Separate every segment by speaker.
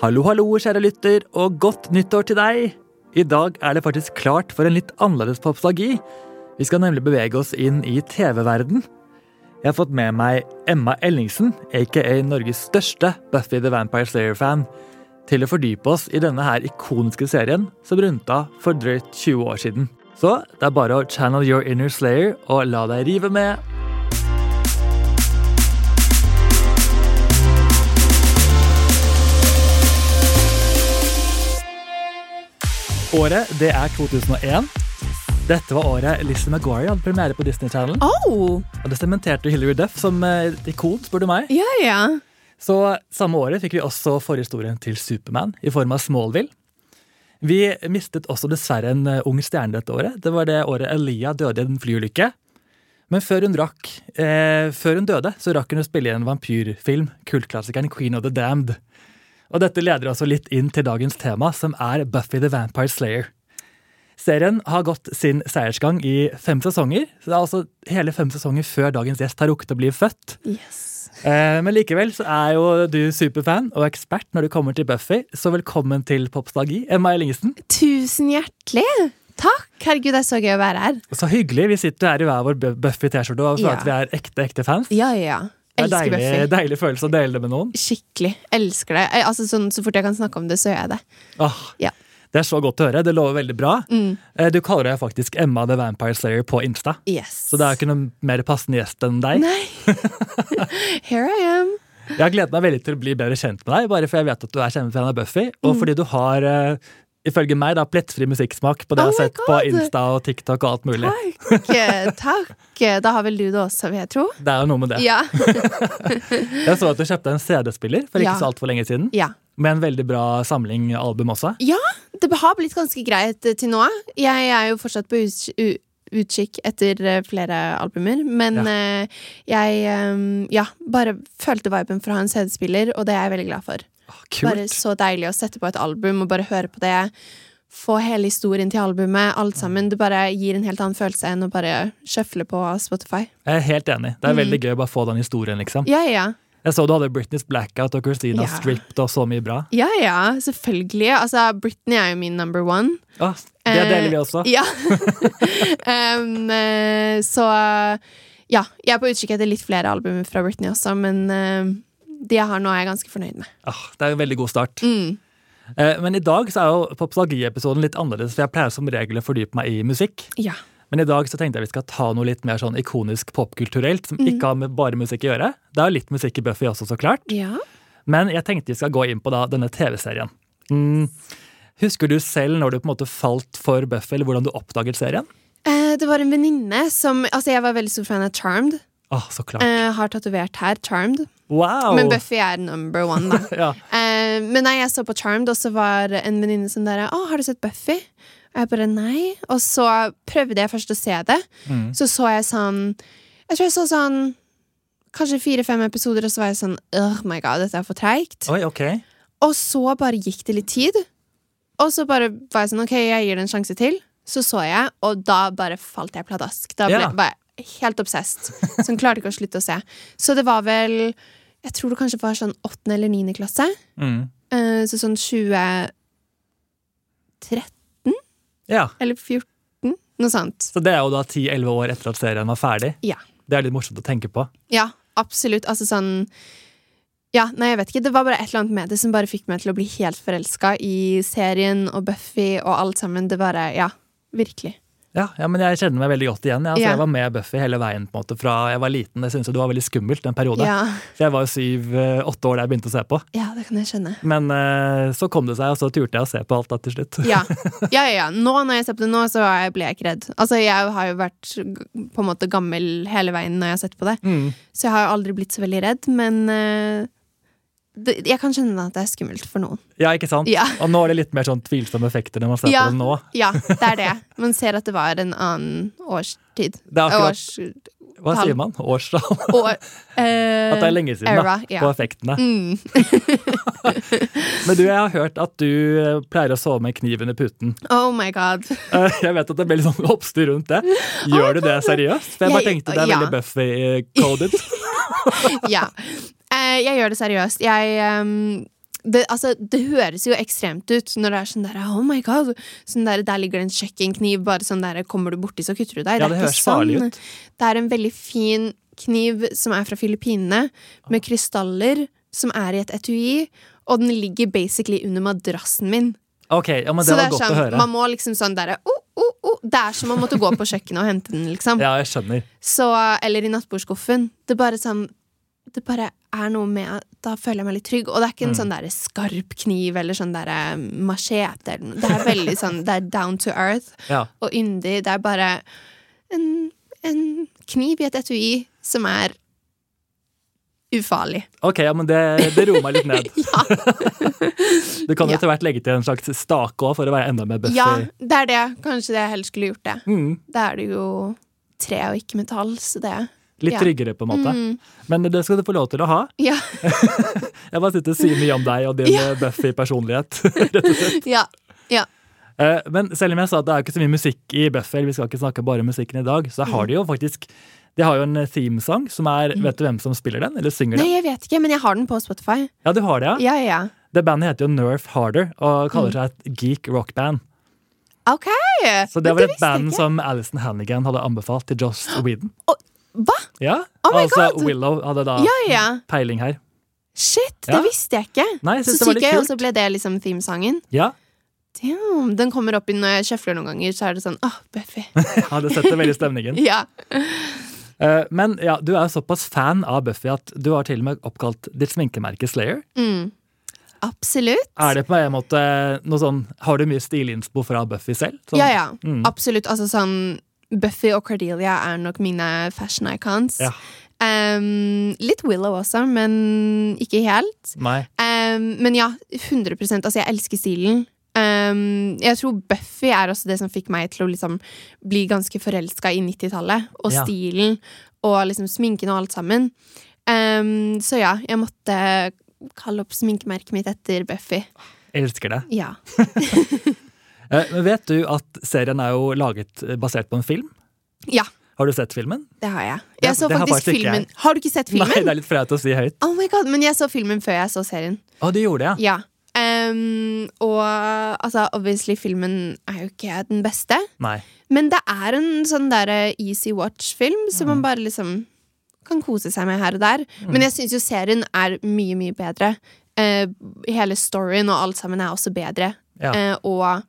Speaker 1: Hallo, hallo, kjære lytter, og godt nyttår til deg! I dag er det faktisk klart for en litt annerledes popsagi. Vi skal nemlig bevege oss inn i TV-verden. Jeg har fått med meg Emma Ellingsen, aka Norges største Buffy the Vampire Slayer-fan, til å fordype oss i denne her ikoniske serien som runda for drøyt 20 år siden. Så det er bare å channel your inner slayer og la deg rive med Året det er 2001. Dette var året Lizzie McGuire hadde premiere på Disney Channel.
Speaker 2: Oh,
Speaker 1: Og det sementerte Hilary Duff som eh, ikon, spør du meg.
Speaker 2: ja, ja.
Speaker 1: Så samme året fikk vi også forhistorien til Superman i form av Smallville. Vi mistet også dessverre en eh, ung stjerne dette året. Det var det året Elia døde i en flyulykke. Men før hun, rakk, eh, før hun døde, så rakk hun å spille i en vampyrfilm, kultklassikeren Queen of the Damned. Og dette leder også litt inn til dagens tema, som er Buffy the Vampire Slayer. Serien har gått sin seiersgang i fem sesonger, så det er altså hele fem sesonger før dagens gjest har rukket å bli født.
Speaker 2: Yes.
Speaker 1: Eh, Men likevel så er jo du superfan og ekspert når du kommer til Buffy, så velkommen til Popsdagi, Emma Ellingsen.
Speaker 2: Tusen hjertelig. Takk. Herregud, det er så gøy å være her.
Speaker 1: Så hyggelig. Vi sitter her i hver vår Bu- Buffy-T-skjorte og føler
Speaker 2: Ja.
Speaker 1: at vi er ekte, ekte fans.
Speaker 2: Ja, ja, ja.
Speaker 1: Det er
Speaker 2: Elsker
Speaker 1: deilig,
Speaker 2: Buffy.
Speaker 1: deilig følelse å dele det med noen.
Speaker 2: Skikkelig. Elsker det. Eh, Altså, sånn, så fort jeg kan snakke om det, så gjør jeg det.
Speaker 1: Åh,
Speaker 2: Ja. Mm.
Speaker 1: Det er så godt å høre. Det lover veldig bra. Eh, Du kaller deg faktisk Emma the Vampire Slayer på Insta.
Speaker 2: Yes.
Speaker 1: Så det er jo ikke noen mer passende gjest enn deg.
Speaker 2: Nei. Here I am.
Speaker 1: Jeg har gledet meg veldig til å bli bedre kjent med deg, bare for jeg vet at du er kjempefan av Buffy, og
Speaker 2: Mm.
Speaker 1: fordi du har, eh, ifølge meg, da, plettfri musikksmak på det
Speaker 2: Oh
Speaker 1: jeg har
Speaker 2: my
Speaker 1: sett på
Speaker 2: God!
Speaker 1: Insta og TikTok og alt mulig.
Speaker 2: Takk. eh, Takk. Da har vel du det også, vil jeg tro.
Speaker 1: Det er jo noe med det.
Speaker 2: Ja.
Speaker 1: Jeg så at du kjøpte en CD-spiller for ikke
Speaker 2: Ja.
Speaker 1: så altfor lenge siden,
Speaker 2: ja.
Speaker 1: med en veldig bra samling album også.
Speaker 2: Ja, det har blitt ganske greit eh, til nå. Jeg er jo fortsatt på uts- u- utkikk etter eh, flere albumer, men
Speaker 1: Ja.
Speaker 2: eh, jeg eh, ja, bare følte viben fra en CD-spiller, og det er jeg veldig glad for.
Speaker 1: Åh,
Speaker 2: Bare
Speaker 1: Kult.
Speaker 2: så deilig å sette på et album og bare høre på det. Få hele historien til albumet, alt sammen. Det bare gir en helt annen følelse enn å bare sjøfle på Spotify.
Speaker 1: Jeg er helt enig. Det er
Speaker 2: Mm.
Speaker 1: veldig gøy å bare få den historien, liksom.
Speaker 2: Ja, ja.
Speaker 1: Jeg så du hadde Britneys Blackout og Christina
Speaker 2: Ja.
Speaker 1: Stripped og så mye bra.
Speaker 2: Ja, ja, selvfølgelig. Altså, Britney er jo min number one.
Speaker 1: Åh, det
Speaker 2: Eh,
Speaker 1: deler vi også.
Speaker 2: Ja. Em, eh, så ja, jeg er på utkikk etter litt flere albumer fra Britney også, men eh, de jeg har nå, er jeg ganske fornøyd med.
Speaker 1: Åh, det er en veldig god start.
Speaker 2: Mm.
Speaker 1: Eh, Men i dag så er jo popsagi-episoden litt annerledes, for jeg pleier som regel å fordype meg i musikk.
Speaker 2: Ja.
Speaker 1: Men i dag så tenkte jeg vi skal ta noe litt mer sånn ikonisk popkulturelt,
Speaker 2: Mm.
Speaker 1: som ikke har med bare musikk å gjøre. Det er jo litt musikk i Buffy også, så klart.
Speaker 2: Ja.
Speaker 1: Men jeg tenkte vi skal gå inn på da denne TV-serien. Mm. Husker du selv når du på en måte falt for Buffy, eller hvordan du oppdaget serien?
Speaker 2: Eh, det var en venninne som Altså, jeg var veldig stor fan av Charmed.
Speaker 1: Åh, så klart.
Speaker 2: Eh, har tatovert her, Charmed.
Speaker 1: wow!
Speaker 2: Men Buffy er number one, da.
Speaker 1: Ja.
Speaker 2: Eh, men nei, jeg så på Charmed, og så var en venninne som der Å, har du sett Buffy? Og jeg bare nei. Og så prøvde jeg først å se det. Så så jeg sånn Jeg tror jeg så sånn Kanskje fire-fem episoder, og så var jeg sånn Oh my god, dette er for treigt.
Speaker 1: Oi, ok.
Speaker 2: Og så bare gikk det litt tid. Og så bare var jeg sånn Ok, jeg gir det en sjanse til. Så så jeg, og da bare falt jeg pladask. Da ble,
Speaker 1: Ja.
Speaker 2: var jeg helt obsessed. Sånn klarte ikke å slutte å se. Så det var vel Jeg tror det kanskje var sånn åttende eller niende klasse.
Speaker 1: Mm.
Speaker 2: Eh, Så sånn 2013
Speaker 1: Ja,
Speaker 2: eller 14, noe sånt.
Speaker 1: så det er jo da 10-11 år etter at serien var ferdig.
Speaker 2: Ja.
Speaker 1: Det er litt morsomt å tenke på.
Speaker 2: Ja, absolutt. Altså sånn Ja, nei, jeg vet ikke. Det var bare et eller annet med det som bare fikk meg til å bli helt forelska i serien og Buffy og alt sammen. Det bare Ja, virkelig.
Speaker 1: Ja, ja, men jeg kjenner meg veldig godt igjen. Jeg, altså,
Speaker 2: Ja.
Speaker 1: jeg var med Buffy hele veien på en måte, fra jeg var liten. Jeg syntes jo det var veldig skummelt en periode.
Speaker 2: Ja,
Speaker 1: For jeg var jo syv-åtte år da jeg begynte å se på.
Speaker 2: ja, det kan jeg skjønne.
Speaker 1: Men eh, så kom det seg, og så turte jeg å se på alt da til slutt.
Speaker 2: Ja. ja, ja, ja. Nå når jeg ser på det nå, så er jeg- ble jeg ikke redd. Altså, jeg har jo vært g- på en måte gammel hele veien når jeg har sett på det,
Speaker 1: Mm.
Speaker 2: så jeg har jo aldri blitt så veldig redd, men eh, det, jeg kan skjønne at det er skummelt for noen.
Speaker 1: Ja, ikke sant?
Speaker 2: Ja.
Speaker 1: Og nå er det litt mer sånn tvilsomme effekter når man ser
Speaker 2: Ja.
Speaker 1: på det nå.
Speaker 2: Ja, det er det. Man ser at det var en annen årstid.
Speaker 1: Det er akkurat-
Speaker 2: Års,
Speaker 1: Hva
Speaker 2: Tall.
Speaker 1: sier man? Årstall?
Speaker 2: år, eh,
Speaker 1: At det er lenge siden, da.
Speaker 2: era, ja.
Speaker 1: På effektene.
Speaker 2: Mm.
Speaker 1: Men du, jeg har hørt at du eh, pleier å sove med kniv under puten.
Speaker 2: Oh my god.
Speaker 1: Eh, Jeg vet at det blir litt sånn oppstyr rundt det. Gjør du det seriøst? For jeg bare
Speaker 2: Jeg-
Speaker 1: tenkte det er
Speaker 2: ja.
Speaker 1: veldig eh, Buffy-coded.
Speaker 2: Ja. Eh, jeg gjør det seriøst. Jeg, ehm, det, altså, det høres jo ekstremt ut når det er sånn der Oh my god! Sånn der, der ligger det en kjøkkenkniv, bare sånn der kommer du borti, så kutter du deg.
Speaker 1: Ja,
Speaker 2: er
Speaker 1: det
Speaker 2: ikke
Speaker 1: høres farlig
Speaker 2: sånn.
Speaker 1: ut.
Speaker 2: Det er en veldig fin kniv som er fra Filippinene,
Speaker 1: Ah.
Speaker 2: med krystaller som er i et etui, og den ligger basically under madrassen min.
Speaker 1: Ok, ja, men det
Speaker 2: så det
Speaker 1: var
Speaker 2: er
Speaker 1: godt
Speaker 2: sånn,
Speaker 1: å høre.
Speaker 2: man må liksom sånn derre oh, oh, oh. Det er som om man måtte gå på kjøkkenet og hente den, liksom.
Speaker 1: Ja, jeg skjønner.
Speaker 2: Så, eller i nattbordskuffen. Det er bare sånn Det bare er noe med at Da føler jeg meg litt trygg. Og det er ikke
Speaker 1: Mm.
Speaker 2: en sånn der skarp kniv eller sånn der eh, machete eller noe. Det er veldig sånn Det er down to earth
Speaker 1: Ja.
Speaker 2: og yndig. Det er bare en, en kniv i et etui som er ufarlig.
Speaker 1: Ok, ja, men det, det roer meg litt ned.
Speaker 2: Ja.
Speaker 1: Du kan jo
Speaker 2: Ja.
Speaker 1: etter hvert legge til en slags stake òg, for å være enda mer buffy.
Speaker 2: ja, det er det. Kanskje det jeg helst skulle gjort det.
Speaker 1: Mm,
Speaker 2: Da er det jo tre og ikke metall, så det
Speaker 1: litt
Speaker 2: Ja.
Speaker 1: tryggere, på en måte.
Speaker 2: Mm.
Speaker 1: Men det skal du få lov til å ha.
Speaker 2: Ja.
Speaker 1: Jeg bare sitter og sier mye om deg og din eh, buffy personlighet.
Speaker 2: ja.
Speaker 1: Eh, Men selv om jeg sa at det er jo ikke så mye musikk i Buffy, eller vi skal ikke snakke bare om musikken i dag, så
Speaker 2: Mm.
Speaker 1: har de jo faktisk De har jo en themesang som er Vet du hvem som spiller den? Eller synger
Speaker 2: Nei,
Speaker 1: den?
Speaker 2: jeg vet ikke, men jeg har den på Spotify.
Speaker 1: Ja, du har det, ja.
Speaker 2: Ja, Mm. ja, ja.
Speaker 1: Det bandet heter jo Nerf Harder og kaller seg et geek rockband.
Speaker 2: Ok!
Speaker 1: Så det var et band som Alison Hannigan hadde anbefalt til Joss Whedon.
Speaker 2: Hva?
Speaker 1: Ja,
Speaker 2: Oh my
Speaker 1: altså
Speaker 2: God!
Speaker 1: Willow hadde da
Speaker 2: Ja, ja.
Speaker 1: peiling her.
Speaker 2: Shit,
Speaker 1: Ja.
Speaker 2: det visste jeg ikke.
Speaker 1: Nei, jeg
Speaker 2: Så
Speaker 1: synes det var
Speaker 2: sykt
Speaker 1: litt
Speaker 2: gøy, og
Speaker 1: kult.
Speaker 2: så ble det liksom themesangen.
Speaker 1: Ja,
Speaker 2: Damn, Den kommer opp i når jeg kjefler noen ganger, så er det sånn åh, Buffy.
Speaker 1: jeg hadde sett det veldig stemningen.
Speaker 2: ja.
Speaker 1: Eh, Men ja, du er jo såpass fan av Buffy at du har til og med oppkalt ditt sminkemerke Slayer.
Speaker 2: Mm. Absolutt.
Speaker 1: Er det på en måte noe sånn Har du mye stilinspo fra Buffy selv? Sånn-
Speaker 2: Ja, ja.
Speaker 1: Mm.
Speaker 2: Absolutt. Altså sånn Buffy og Cordelia er nok mine fashion icons.
Speaker 1: Ja.
Speaker 2: Em, litt Willow også, men ikke helt.
Speaker 1: Nei.
Speaker 2: Um, men ja, 100 Altså, jeg elsker stilen. Um, jeg tror Buffy er også det som fikk meg til å liksom bli ganske forelska i 90-tallet. Og
Speaker 1: Ja.
Speaker 2: stilen og liksom sminken og alt sammen. Um, så ja, jeg måtte kalle opp sminkemerket mitt etter Buffy.
Speaker 1: Jeg elsker det.
Speaker 2: Ja.
Speaker 1: Eh, Men vet du at serien er jo laget eh, basert på en film?
Speaker 2: ja,
Speaker 1: Har du sett filmen?
Speaker 2: det har jeg.
Speaker 1: Det-
Speaker 2: Jeg så
Speaker 1: det har
Speaker 2: faktisk
Speaker 1: faktisk ikke
Speaker 2: filmen.
Speaker 1: jeg.
Speaker 2: Har du ikke sett filmen?
Speaker 1: Nei, det er litt flaut å si høyt.
Speaker 2: Oh my god, Men jeg så filmen før jeg så serien.
Speaker 1: Å, du gjorde det, ja.
Speaker 2: Ja. Um, og altså, obviously, filmen er jo ikke den beste.
Speaker 1: Nei.
Speaker 2: Men det er en sånn der eh, easy watch-film som
Speaker 1: Mm.
Speaker 2: man bare liksom kan kose seg med her og der. Men jeg syns jo serien er mye, mye bedre. Eh, hele storyen og alt sammen er også bedre.
Speaker 1: Ja.
Speaker 2: Eh, og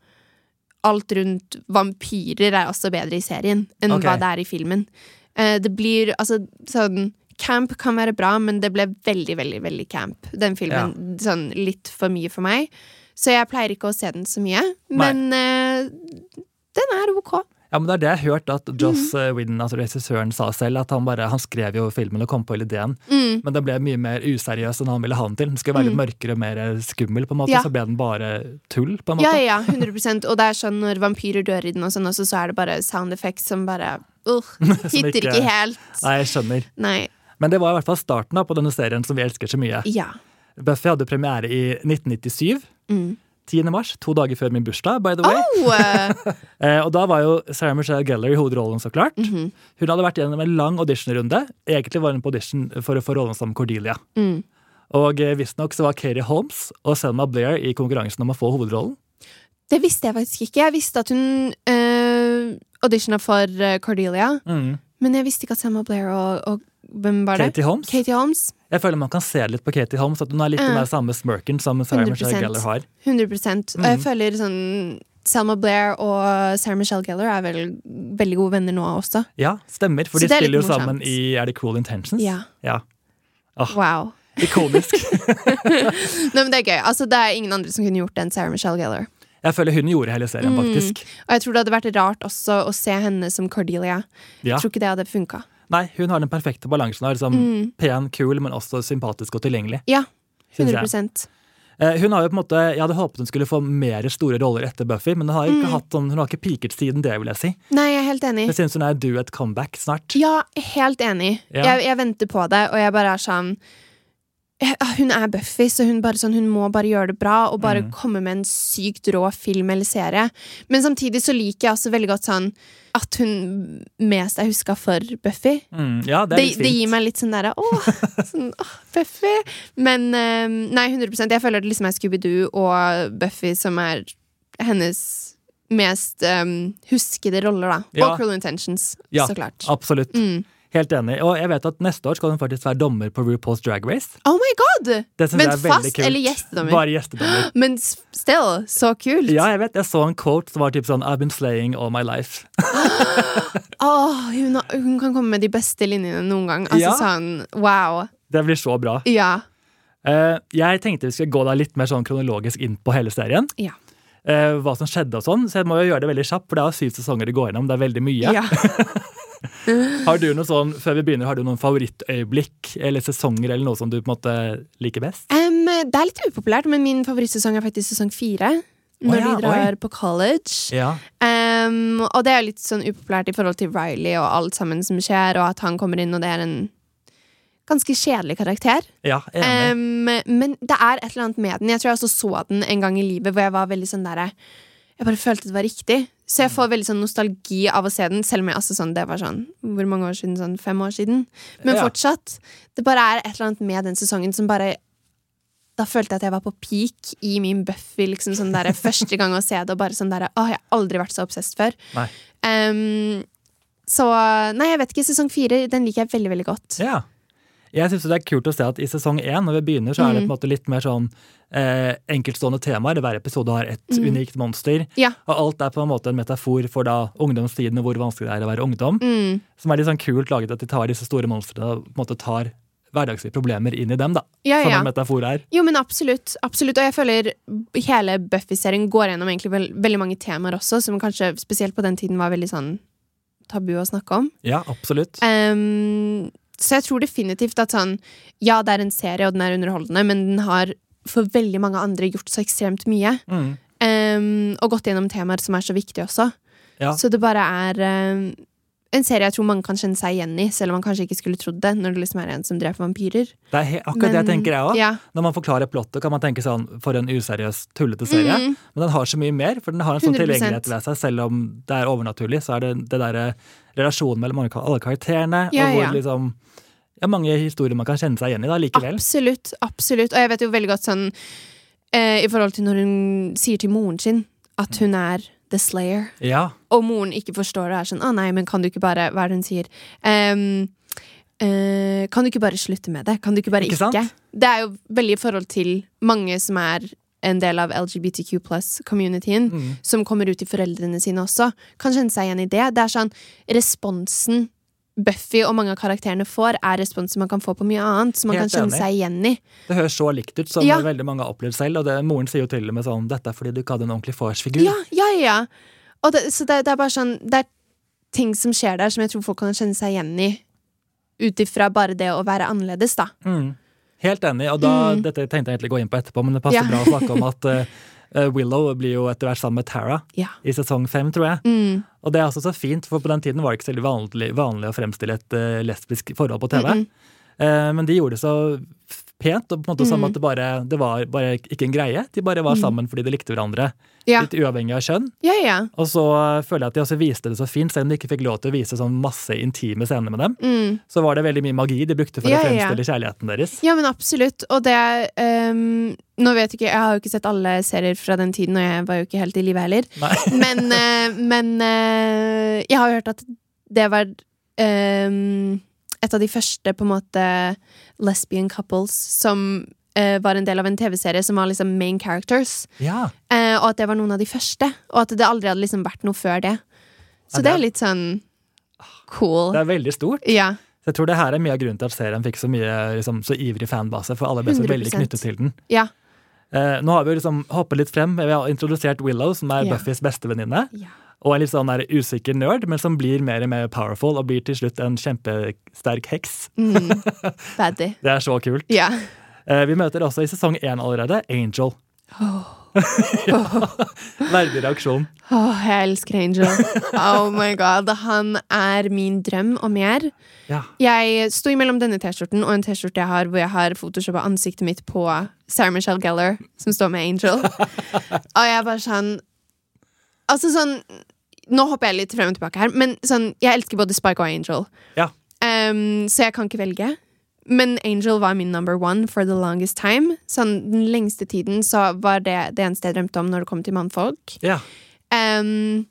Speaker 2: alt rundt vampyrer er også bedre i serien enn
Speaker 1: Ok.
Speaker 2: hva det er i filmen. Eh, det blir altså sånn Camp kan være bra, men det ble veldig, veldig veldig camp, den filmen. Sånn litt for mye for meg. Så jeg pleier ikke å se den så mye.
Speaker 1: Nei.
Speaker 2: Men eh, den er ok.
Speaker 1: Ja, men Det er det jeg har hørt
Speaker 2: Mhm.
Speaker 1: at Joss eh, Whedon, altså regissøren, sa selv. At han bare, han skrev jo filmen og kom på hele ideen,
Speaker 2: Mm.
Speaker 1: men den ble mye mer useriøs enn han ville ha den til. Den skulle være litt mørkere og mer eh, skummel, på en måte,
Speaker 2: Mhm. Ja.
Speaker 1: så ble den bare tull. på en
Speaker 2: Ja,
Speaker 1: måte.
Speaker 2: ja, 100 Og det er sånn når vampyrer dør i den, og sånn også, så er det bare sound effects som bare uh, Hitter
Speaker 1: ikke-
Speaker 2: ikke, helt.
Speaker 1: Nei, jeg skjønner.
Speaker 2: Nei.
Speaker 1: Men det var i hvert fall starten da, på denne serien som vi elsker så mye.
Speaker 2: Ja.
Speaker 1: Buffy hadde premiere i 1997.
Speaker 2: Mm.
Speaker 1: 10. mars, to dager før min bursdag, by the way.
Speaker 2: Oh, eh,
Speaker 1: Eh, og da var jo Sarah Michelle Gellar i hovedrollen, så klart.
Speaker 2: mhm.
Speaker 1: Hun hadde vært gjennom en lang auditionrunde. Egentlig var hun på audition for å få rollen som Cordelia.
Speaker 2: mm.
Speaker 1: Og eh, visstnok så var Keri Holmes og Selma Blair i konkurransen om å få hovedrollen.
Speaker 2: Det visste jeg faktisk ikke. Jeg visste at hun uh, auditiona for eh, Cordelia,
Speaker 1: Mm.
Speaker 2: men jeg visste ikke at Selma Blair og, og Hvem var det?
Speaker 1: Katie Holmes.
Speaker 2: Katie Holmes.
Speaker 1: Jeg føler man kan se litt på Katie Holmes, at hun har litt den
Speaker 2: Ja.
Speaker 1: der samme smirken som Sarah Michelle
Speaker 2: 100%.
Speaker 1: Gellar har.
Speaker 2: 100 Og jeg
Speaker 1: Mhm.
Speaker 2: føler sånn Selma Blair og Sarah Michelle Gellar er vel veldig gode venner nå også.
Speaker 1: Ja, stemmer, for de
Speaker 2: Så det er
Speaker 1: spiller
Speaker 2: litt
Speaker 1: jo
Speaker 2: morsomt.
Speaker 1: sammen i Er det Cool Intentions?
Speaker 2: Ja.
Speaker 1: ja. Ah.
Speaker 2: Wow.
Speaker 1: Ikonisk.
Speaker 2: Nei, men det er gøy. Altså, det er ingen andre som kunne gjort det enn Sarah Michelle Gellar.
Speaker 1: Jeg føler hun gjorde hele serien,
Speaker 2: Mm.
Speaker 1: faktisk.
Speaker 2: Og jeg tror det hadde vært rart også å se henne som Cordelia.
Speaker 1: Ja.
Speaker 2: Jeg tror ikke det hadde funka.
Speaker 1: Nei, hun har den perfekte balansen. Her, liksom,
Speaker 2: Mm.
Speaker 1: Pen, kul, men også sympatisk og tilgjengelig.
Speaker 2: Ja,
Speaker 1: Synes
Speaker 2: 100
Speaker 1: jeg. Eh, Hun har jo på en måte, Jeg hadde håpet hun skulle få mer store roller etter Buffy, men hun har, jo ikke hatt sånn, hun har ikke piket siden det, vil jeg si.
Speaker 2: Mm. Nei, jeg er helt enig.
Speaker 1: Jeg synes hun er due et comeback snart.
Speaker 2: Ja, helt enig.
Speaker 1: Ja.
Speaker 2: Jeg, jeg venter på det, og jeg bare er sånn ja, Hun er Buffy, så hun, bare sånn, hun må bare gjøre det bra og bare
Speaker 1: Mm.
Speaker 2: komme med en sykt rå film eller serie. Men samtidig så liker jeg også veldig godt sånn at hun mest er huska for Buffy.
Speaker 1: Mm, ja, det
Speaker 2: Det,
Speaker 1: er litt fint.
Speaker 2: det gir meg litt sånn derre åh, sånn, åh, Buffy. Men eh, nei, 100 Jeg føler det liksom er Scooby-Doo og Buffy som er hennes mest eh, huskede roller, da.
Speaker 1: Ja.
Speaker 2: Og Cruel Intentions,
Speaker 1: Ja.
Speaker 2: så klart.
Speaker 1: Absolutt.
Speaker 2: Mm.
Speaker 1: Helt enig. Og jeg vet at neste år skal hun faktisk være dommer på RuPaul's Drag Race.
Speaker 2: Oh my god!
Speaker 1: Sånn, Det synes
Speaker 2: Men
Speaker 1: jeg er veldig
Speaker 2: fast
Speaker 1: kult.
Speaker 2: eller gjestedommer?
Speaker 1: Bare gjestedommer.
Speaker 2: Men s- still, så kult!
Speaker 1: Ja, jeg vet. Jeg så en quote som var typ sånn I've been slaying all my life.
Speaker 2: Åh, hun, har- hun kan komme med de beste linjene noen gang. Altså
Speaker 1: Ja.
Speaker 2: sånn, wow.
Speaker 1: Det blir så bra.
Speaker 2: Ja.
Speaker 1: Eh, jeg tenkte vi skulle gå da litt mer sånn kronologisk inn på hele serien.
Speaker 2: Ja.
Speaker 1: eh, hva som skjedde og sånn, så jeg må jo gjøre det veldig kjapt, for det er jo syv sesonger det går gjennom. Det er veldig mye.
Speaker 2: Ja.
Speaker 1: Har du noe sånn, før vi begynner, har du noen favorittøyeblikk eller sesonger eller noe som du på en måte liker best?
Speaker 2: Em, det er litt upopulært, men min favorittsesong er faktisk sesong fire. Når
Speaker 1: ja,
Speaker 2: de drar på college.
Speaker 1: Ja.
Speaker 2: Em, og det er jo litt sånn upopulært i forhold til Riley og alt sammen som skjer, og at han kommer inn, og det er en ganske kjedelig karakter.
Speaker 1: Ja, enig.
Speaker 2: Um, men det er et eller annet med den. Jeg tror jeg også så den en gang i livet hvor jeg var veldig sånn der Jeg bare følte det var riktig. Så jeg får veldig sånn nostalgi av å se den, selv om jeg altså sånn, det var sånn Hvor mange år siden? Sånn fem år siden? Men
Speaker 1: Ja.
Speaker 2: fortsatt. Det bare er et eller annet med den sesongen som bare da følte jeg at jeg var på peak i min Buffy. Liksom sånn der, første gang å se det, og bare sånn der Å, jeg har aldri vært så obsessed før.
Speaker 1: Nei.
Speaker 2: Um, så Nei, jeg vet ikke. Sesong fire den liker jeg veldig, veldig godt.
Speaker 1: ja. Jeg syns det er kult å se at i sesong én, når vi begynner, så er det på
Speaker 2: Mhm.
Speaker 1: en måte litt mer sånn eh, enkeltstående temaer. Hver episode har et
Speaker 2: Mhm.
Speaker 1: unikt monster.
Speaker 2: Ja.
Speaker 1: Og alt er på en måte en metafor for da ungdomstiden og hvor vanskelig det er å være ungdom.
Speaker 2: Mm.
Speaker 1: Som er litt sånn kult laget at de tar disse store monstrene og på en måte tar hverdagslige problemer inn i dem, da.
Speaker 2: Ja,
Speaker 1: Som
Speaker 2: ja.
Speaker 1: en metafor er.
Speaker 2: Jo, men absolutt. absolutt. Og jeg føler hele Buffy-serien går gjennom egentlig vel- veldig mange temaer også, som kanskje spesielt på den tiden var veldig sånn tabu å snakke om.
Speaker 1: Ja, absolutt.
Speaker 2: Eh, Ehm, så jeg tror definitivt at sånn Ja, det er en serie, og den er underholdende, men den har for veldig mange andre gjort så ekstremt mye.
Speaker 1: Mm.
Speaker 2: Ehm, og gått gjennom temaer som er så viktige også.
Speaker 1: Ja.
Speaker 2: Så det bare er ehm, en serie jeg tror mange kan kjenne seg igjen i, selv om man kanskje ikke skulle trodd det, når det liksom er en som dreper vampyrer.
Speaker 1: Det er he akkurat det jeg
Speaker 2: Men-
Speaker 1: tenker jeg òg.
Speaker 2: Ja.
Speaker 1: Når man forklarer plottet, kan man tenke sånn for en useriøs, tullete serie.
Speaker 2: Mm.
Speaker 1: Men den har så mye mer, for den har en sånn
Speaker 2: 100%.
Speaker 1: tilgjengelighet ved seg. Selv om det er overnaturlig, så er det det derre relasjonen mellom alle alle karakterene,
Speaker 2: Ja,
Speaker 1: og hvor
Speaker 2: ja.
Speaker 1: liksom ja, mange historier man kan kjenne seg igjen i da, likevel.
Speaker 2: Absolutt. absolutt Og jeg vet jo veldig godt sånn eh, I forhold til når hun sier til moren sin at hun er The Slayer,
Speaker 1: Ja.
Speaker 2: og moren ikke forstår det, er sånn Å nei, men kan du ikke bare Hva er det hun sier? Ehm, eh, kan du ikke bare slutte med det? Kan du ikke bare
Speaker 1: Ikke
Speaker 2: ikke?
Speaker 1: sant?
Speaker 2: Det er jo veldig i forhold til mange som er en del av LGBTQ plus-communityen,
Speaker 1: Mm.
Speaker 2: som kommer ut til foreldrene sine også, kan kjenne seg igjen i det. Det er sånn Responsen Buffy og mange av karakterene får, er responsen man kan få på mye annet, som man
Speaker 1: Helt
Speaker 2: kan
Speaker 1: enig.
Speaker 2: kjenne seg igjen i.
Speaker 1: Det høres så likt ut som
Speaker 2: Ja.
Speaker 1: veldig mange har opplevd selv. Og det, moren sier jo til og med sånn 'Dette er fordi du ikke hadde en ordentlig farsfigur'.
Speaker 2: Ja, ja, ja, ja. Og det, så det, det er bare sånn Det er ting som skjer der som jeg tror folk kan kjenne seg igjen i. Ut ifra bare det å være annerledes, da.
Speaker 1: Mm. Helt enig, og da, dette tenkte jeg egentlig å gå inn på etterpå, men det passer
Speaker 2: Mm.
Speaker 1: bra
Speaker 2: Ja.
Speaker 1: å snakke om at eh, Willow blir jo etter hvert sammen med Tara
Speaker 2: Ja.
Speaker 1: i sesong fem, tror jeg.
Speaker 2: Mm.
Speaker 1: Og det er også så fint, for på den tiden var det ikke så veldig vanlig, vanlig å fremstille et eh, lesbisk forhold på TV.
Speaker 2: Mm-mm.
Speaker 1: Eh, men de gjorde det så f- pent, og på en måte som
Speaker 2: Mm.
Speaker 1: at det bare, det var bare ikke en greie. De bare var sammen fordi de likte hverandre,
Speaker 2: Ja.
Speaker 1: litt uavhengig av kjønn.
Speaker 2: ja, ja.
Speaker 1: Og så eh, føler jeg at de også viste det så fint, selv om de ikke fikk lov til å vise sånn masse intime scener med dem.
Speaker 2: Mm.
Speaker 1: Så var det veldig mye magi de brukte for å
Speaker 2: Ja, ja, ja.
Speaker 1: fremstille kjærligheten deres.
Speaker 2: Ja, men absolutt. Og det ehm, Nå vet jeg ikke, jeg har jo ikke sett alle serier fra den tiden, og jeg var jo ikke helt i live heller.
Speaker 1: Nei.
Speaker 2: Men, eh, men eh, jeg har jo hørt at det var ehm, et av de første på en måte lesbian couples som eh, var en del av en TV-serie som var liksom main characters.
Speaker 1: Ja.
Speaker 2: Eh, og at det var noen av de første, og at det aldri hadde liksom vært noe før det. Så
Speaker 1: Ja, det
Speaker 2: det
Speaker 1: er-
Speaker 2: er litt sånn cool.
Speaker 1: Det er veldig stort.
Speaker 2: Ja.
Speaker 1: Så Jeg tror det her er mye av grunnen til at serien fikk så mye liksom, så ivrig fanbase, for alle ble så veldig
Speaker 2: 100%.
Speaker 1: knyttet til den.
Speaker 2: Ja.
Speaker 1: Eh, nå har vi jo liksom hoppet litt frem. Vi har introdusert Willow, som er
Speaker 2: Ja.
Speaker 1: Buffys bestevenninne.
Speaker 2: ja.
Speaker 1: Og en litt sånn der usikker nerd, men som blir mer og mer powerful og blir til slutt en kjempesterk heks.
Speaker 2: Mm. Baddy.
Speaker 1: Det er så kult.
Speaker 2: Ja.
Speaker 1: Eh, vi møter også i sesong én allerede Angel. Verdig reaksjon.
Speaker 2: Åh, jeg elsker Angel. Oh my god, Han er min drøm og mer.
Speaker 1: Ja.
Speaker 2: Jeg sto imellom denne T-skjorten og en T-skjorte jeg har hvor jeg har photoshoppa ansiktet mitt på Sarah Michelle Gellar, som står med Angel. og jeg er bare sånn Altså sånn Nå hopper jeg litt frem og tilbake her, men sånn, jeg elsker både Spike og Angel.
Speaker 1: Ja.
Speaker 2: Ehm, så jeg kan ikke velge. Men Angel var min number one for the longest time. Sånn, den lengste tiden så var det det eneste jeg drømte om når det kom til mannfolk.
Speaker 1: ja.
Speaker 2: Ehm,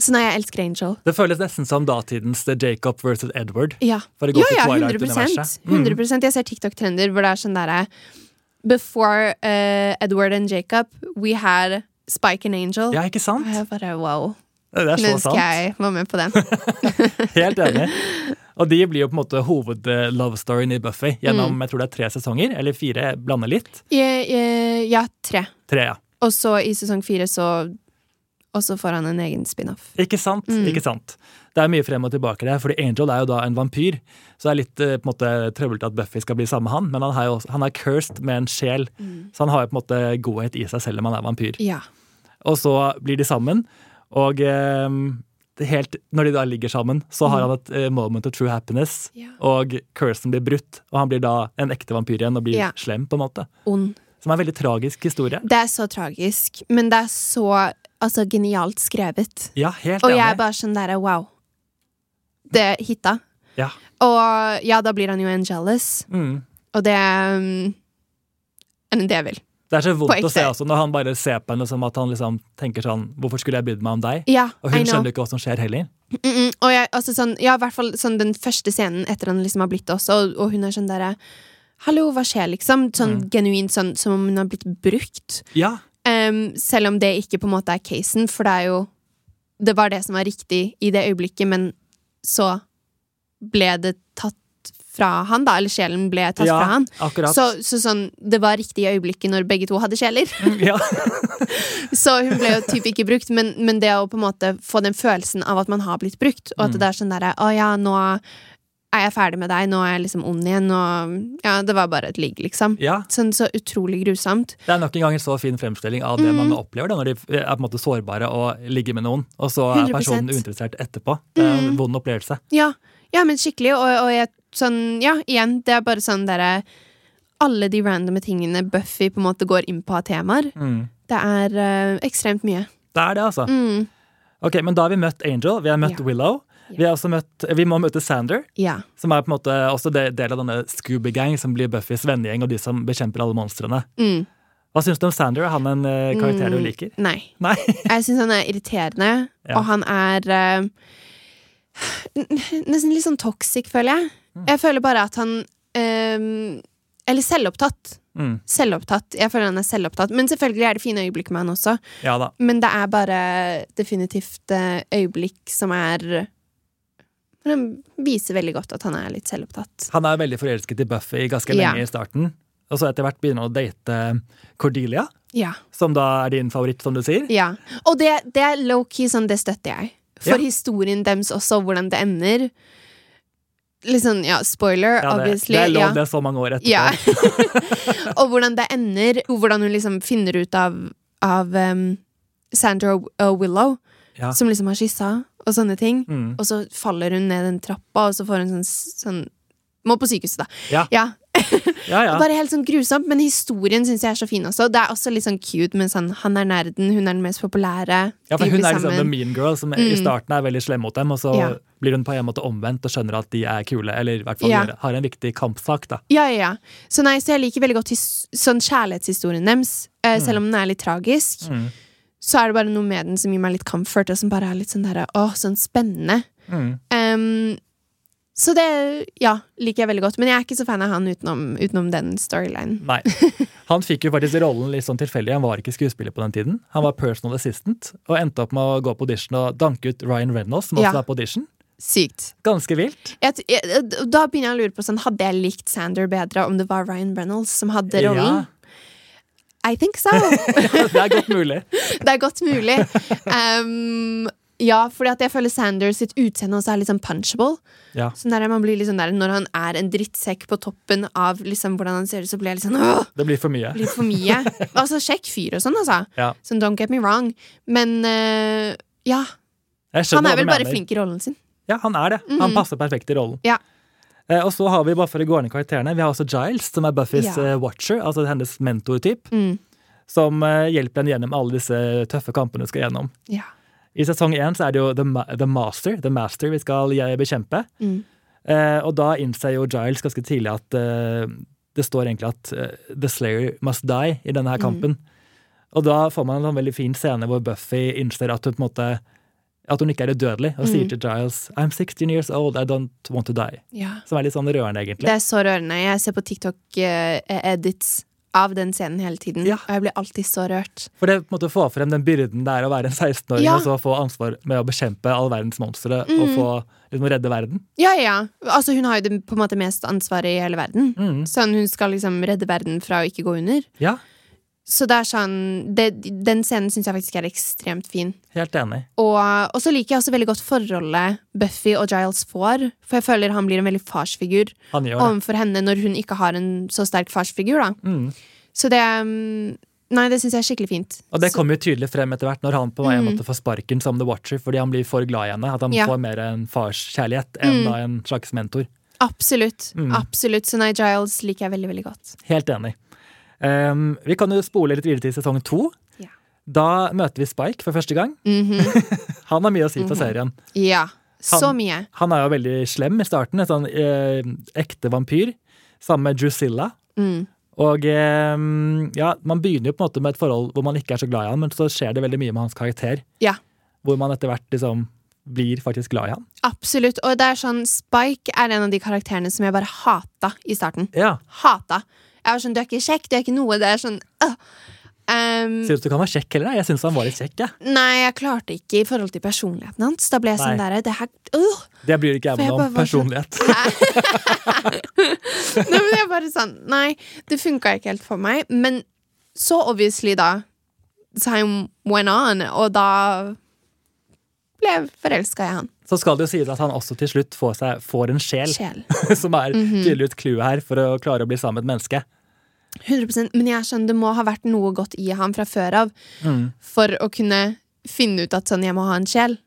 Speaker 2: så nei, jeg elsker Angel.
Speaker 1: Det føles nesten som datidens The Jacob versus Edward.
Speaker 2: Ja,
Speaker 1: For å gå
Speaker 2: ja,
Speaker 1: til
Speaker 2: ja 100,
Speaker 1: Twilight-universet. Mm.
Speaker 2: 100 Jeg ser TikTok-trender hvor det er sånn derre Before eh, Edward and Jacob, we had Spike and Angel.
Speaker 1: Ja, ikke
Speaker 2: Og
Speaker 1: sant?
Speaker 2: jeg bare wow.
Speaker 1: Det er så
Speaker 2: Kunne ønske
Speaker 1: sant.
Speaker 2: jeg var med på den.
Speaker 1: Helt enig. Og de blir jo på en måte hoved-love-storyen i Buffy gjennom jeg tror det er tre sesonger, eller fire, jeg blander litt.
Speaker 2: Jeg- jeg- ja, tre.
Speaker 1: Tre, ja.
Speaker 2: Og så i sesong fire så Og så får han en egen spin-off.
Speaker 1: Ikke sant? ikke sant. Det er mye frem og tilbake der, fordi Angel er jo da en vampyr. Så det er litt eh, på en måte trøblete at Buffy skal bli sammen med han, men han er, jo også, han er cursed med en sjel. Så han har jo på en måte godhet i seg selv om han er vampyr.
Speaker 2: Ja.
Speaker 1: Og så blir de sammen, og eh, det er helt, når de da ligger sammen, så har han et eh, moment of true happiness,
Speaker 2: Ja.
Speaker 1: og cursen blir brutt, og han blir da en ekte vampyr igjen og blir
Speaker 2: Ja.
Speaker 1: slem, på en måte.
Speaker 2: Ond.
Speaker 1: Som er en veldig tragisk historie.
Speaker 2: Det er så tragisk, men det er så altså, genialt skrevet.
Speaker 1: Ja, helt
Speaker 2: Og
Speaker 1: enig.
Speaker 2: jeg er bare sånn derre wow. Det hitta.
Speaker 1: Ja.
Speaker 2: Og ja, da blir han jo en jealous,
Speaker 1: Mm.
Speaker 2: og det um, En devil.
Speaker 1: Det er så
Speaker 2: På
Speaker 1: vondt å
Speaker 2: ekte.
Speaker 1: se også, når han bare ser på henne som at han liksom tenker sånn Hvorfor skulle jeg brydd meg om deg?
Speaker 2: Ja,
Speaker 1: Og
Speaker 2: I
Speaker 1: hun
Speaker 2: know.
Speaker 1: skjønner ikke hva som skjer heller.
Speaker 2: Mm -mm. Og jeg, altså sånn, ja, i hvert fall sånn den første scenen etter han liksom har blitt det også, og, og hun er sånn derre Hallo, hva skjer, liksom? Sånn
Speaker 1: Mm.
Speaker 2: genuint sånn som om hun har blitt brukt.
Speaker 1: Ja,
Speaker 2: Em, selv om det ikke på en måte er casen, for det er jo Det var det som var riktig i det øyeblikket, men så ble det tatt fra han, da. Eller sjelen ble tatt
Speaker 1: ja
Speaker 2: fra han.
Speaker 1: akkurat.
Speaker 2: Så, så sånn, det var riktig i øyeblikket når begge to hadde sjeler.
Speaker 1: Ja.
Speaker 2: Så hun ble jo typ ikke brukt, men, men det å på en måte få den følelsen av at man har blitt brukt, og at det er sånn derre Å ja, nå er jeg ferdig med deg, nå er jeg liksom ond igjen, og Ja, det var bare et ligg, liksom.
Speaker 1: ja,
Speaker 2: Sånn så utrolig grusomt.
Speaker 1: Det er nok en gang en så fin fremstilling av det
Speaker 2: Mm.
Speaker 1: mange opplever da, når de er på en måte sårbare og ligger med noen, og så er
Speaker 2: 100%.
Speaker 1: personen uinteressert etterpå. Det er
Speaker 2: Mm.
Speaker 1: en vond opplevelse.
Speaker 2: Ja, ja men skikkelig, og, og jeg sånn Ja, igjen, det er bare sånn derre alle de randome tingene Buffy på en måte går inn på av temaer.
Speaker 1: Mm.
Speaker 2: Det er eh, ekstremt mye.
Speaker 1: Det er det, altså.
Speaker 2: Mm.
Speaker 1: Ok, Men da har vi møtt Angel, vi har møtt
Speaker 2: Ja.
Speaker 1: Willow. Vi, har også møtt, vi må møte Sander,
Speaker 2: Ja.
Speaker 1: som er på en måte også de- del av denne Scooby-gang, som blir Buffys vennegjeng og de som bekjemper alle monstrene.
Speaker 2: Mm.
Speaker 1: Hva syns du om Sander? Er han en eh, karakter du liker?
Speaker 2: Nei.
Speaker 1: Nei?
Speaker 2: Jeg syns han er irriterende,
Speaker 1: Ja.
Speaker 2: og han er eh, n- nesten litt sånn toxic, føler jeg. Jeg føler bare at han eh, Eller selvopptatt.
Speaker 1: Mm.
Speaker 2: Selvopptatt. Jeg føler han er selvopptatt. Men selvfølgelig er det fine øyeblikk med han også.
Speaker 1: Ja da.
Speaker 2: Men det er bare definitivt eh, øyeblikk som er Han viser veldig godt at han er litt selvopptatt.
Speaker 1: Han er veldig forelsket i Buffy ganske
Speaker 2: Ja.
Speaker 1: lenge i starten. Og så etter hvert begynner han å date eh, Cordelia,
Speaker 2: Ja.
Speaker 1: som da er din favoritt, som du sier.
Speaker 2: ja. Og det, det er low-key sånn, det støtter jeg. For
Speaker 1: Ja.
Speaker 2: historien deres også, hvordan det ender. Litt sånn, ja, spoiler,
Speaker 1: Ja, det,
Speaker 2: obviously.
Speaker 1: det er lov,
Speaker 2: ja.
Speaker 1: det er så mange år etterpå.
Speaker 2: Ja. og hvordan det ender, og hvordan hun liksom finner ut av, av em, Sandra og og Willow,
Speaker 1: Ja.
Speaker 2: som liksom har kyssa, og sånne ting.
Speaker 1: Mm.
Speaker 2: Og så faller hun ned den trappa, og så får hun sånn, sånn Må på sykehuset, da.
Speaker 1: Ja. Ja, ja.
Speaker 2: Bare helt sånn grusomt, men historien syns jeg er så fin også. Det er også litt sånn cute med sånn han er nerden, hun er den mest populære.
Speaker 1: ja, for
Speaker 2: de
Speaker 1: hun
Speaker 2: blir
Speaker 1: er liksom the
Speaker 2: sammen. Mm.
Speaker 1: mean girl som i starten er veldig slem mot dem, og så
Speaker 2: Ja.
Speaker 1: blir hun på en måte omvendt og skjønner at de er kule, eller i hvert fall
Speaker 2: Ja.
Speaker 1: gjør- har en viktig kampsak, da.
Speaker 2: Ja, ja, ja. Så nei, så jeg liker veldig godt his sånn kjærlighetshistorien deres. eh, Selv om den er litt tragisk,
Speaker 1: Mm.
Speaker 2: så er det bare noe med den som gir meg litt comfort, og som bare er litt sånn derre åh, sånn spennende.
Speaker 1: Mm.
Speaker 2: Em, så det, ja, liker jeg veldig godt. Men jeg er ikke så fan av han utenom, utenom den storylinen.
Speaker 1: Nei. Han fikk jo faktisk rollen litt sånn tilfeldig, han var ikke skuespiller på den tiden. Han var personal assistant, og endte opp med å gå på audition og danke ut Ryan Reynolds, som også
Speaker 2: Ja.
Speaker 1: er på audition.
Speaker 2: Sykt.
Speaker 1: Ganske vilt.
Speaker 2: Jeg, t- jeg, da begynner jeg å lure på sånn, hadde jeg likt Sander bedre om det var Ryan Reynolds som hadde rollen? I think so.
Speaker 1: Ja, det er godt mulig.
Speaker 2: Det er godt mulig. Um, Ja, fordi at jeg føler Sanders sitt utseende også er litt sånn punchable.
Speaker 1: Ja.
Speaker 2: Sånn der man blir litt sånn der, Når han er en drittsekk på toppen av liksom hvordan han ser ut, så blir jeg litt sånn åh,
Speaker 1: Det blir for mye.
Speaker 2: Litt for mye. altså, sjekk fyr og sånn, altså.
Speaker 1: Ja.
Speaker 2: Så don't get me wrong. Men eh, ja.
Speaker 1: Jeg skjønner
Speaker 2: Han
Speaker 1: hva
Speaker 2: er
Speaker 1: du
Speaker 2: vel bare
Speaker 1: mener.
Speaker 2: flink i rollen sin.
Speaker 1: Ja, han er det. Han
Speaker 2: Mhm.
Speaker 1: passer perfekt i rollen.
Speaker 2: Ja.
Speaker 1: Eh, og så har Vi bare for å gå ned i karakterene Vi har også Giles, som er Buffys
Speaker 2: Ja.
Speaker 1: eh, watcher, altså hennes mentortyp,
Speaker 2: Mm.
Speaker 1: som eh, hjelper henne gjennom alle disse tøffe kampene hun skal gjennom.
Speaker 2: Ja.
Speaker 1: I sesong én så er det jo The, Ma The Master The Master vi skal eh, bekjempe.
Speaker 2: Mm.
Speaker 1: Eh, og da innser jo Giles ganske tidlig at eh, det står egentlig at eh, The Slayer must die i
Speaker 2: Mhm.
Speaker 1: denne her kampen. Og da får man en sånn veldig fin scene hvor Buffy innser at hun på en måte at hun ikke er udødelig, og
Speaker 2: Mhm.
Speaker 1: sier til Giles I'm 16 years old, I don't want to die.
Speaker 2: ja.
Speaker 1: Som er litt sånn rørende, egentlig.
Speaker 2: Det er så rørende. Jeg ser på TikTok-edits av den scenen hele tiden,
Speaker 1: Ja.
Speaker 2: og jeg blir alltid så rørt.
Speaker 1: For det på en måte få frem den byrden det er å være en 16-åring
Speaker 2: Ja. Mhm.
Speaker 1: og så få ansvar med å bekjempe all verdens monstre og få liksom, redde verden.
Speaker 2: Ja, ja. ja. Altså, hun har jo det på en måte mest ansvaret i hele verden.
Speaker 1: Mm.
Speaker 2: Sånn, hun skal liksom redde verden fra å ikke gå under.
Speaker 1: Ja,
Speaker 2: Så det er sånn det, Den scenen syns jeg faktisk er ekstremt fin.
Speaker 1: helt enig.
Speaker 2: Og, og så liker jeg også veldig godt forholdet Buffy og Giles får, for jeg føler han blir en veldig farsfigur
Speaker 1: Han gjør det.
Speaker 2: overfor henne når hun ikke har en så sterk farsfigur, da.
Speaker 1: Mm.
Speaker 2: Så det mm, Nei, det syns jeg er skikkelig fint.
Speaker 1: Og det
Speaker 2: Så- Mm.
Speaker 1: kommer jo tydelig frem etter hvert når han på en måte får sparken som The Watcher fordi han blir for glad i henne. At han
Speaker 2: Ja. Mm.
Speaker 1: får mer en farskjærlighet enn da en slags mentor.
Speaker 2: Absolutt.
Speaker 1: Mm.
Speaker 2: absolutt Så nei, Giles liker jeg veldig, veldig godt.
Speaker 1: Helt enig. Ehm, vi kan jo spole litt videre til sesong to.
Speaker 2: Ja.
Speaker 1: Da møter vi Spike for første gang.
Speaker 2: Mhm.
Speaker 1: Han har mye å si for serien.
Speaker 2: Ja. Så
Speaker 1: Han-
Speaker 2: mye.
Speaker 1: Han er jo veldig slem i starten. En sånn eh, ekte vampyr. Sammen med Drusilla.
Speaker 2: Mm.
Speaker 1: Og ehm, ja, man begynner jo på en måte med et forhold hvor man ikke er så glad i han, men så skjer det veldig mye med hans karakter.
Speaker 2: Ja.
Speaker 1: Hvor man etter hvert liksom blir faktisk glad i han.
Speaker 2: Absolutt. Og det er sånn, Spike er en av de karakterene som jeg bare hata i starten.
Speaker 1: Ja,
Speaker 2: Hata. Jeg var sånn, Du er ikke kjekk, du er ikke noe. Det er sånn øh. um,
Speaker 1: Synes du ikke han var kjekk heller? da? Jeg syns han var litt kjekk. jeg.
Speaker 2: Nei, jeg klarte ikke i forhold til personligheten hans. Da ble jeg sånn
Speaker 1: Nei.
Speaker 2: derre det her, øh.
Speaker 1: Det bryr ikke jeg
Speaker 2: For
Speaker 1: meg
Speaker 2: jeg
Speaker 1: om.
Speaker 2: bare var sånn-
Speaker 1: Personlighet.
Speaker 2: Nei, men jeg bare sånn Nei, det funka ikke helt for meg. Men så obviously, da, time went on, og da ble jeg forelska i han.
Speaker 1: Så skal det jo sies at han også til slutt får, seg, får en sjel,
Speaker 2: Sjel. Mhm.
Speaker 1: som er tydeligvis clouet her for å klare å bli sammen med et menneske.
Speaker 2: 100 Men jeg skjønner det må ha vært noe godt i ham fra før av
Speaker 1: Mm.
Speaker 2: for å kunne finne ut at sånn, jeg må ha en sjel.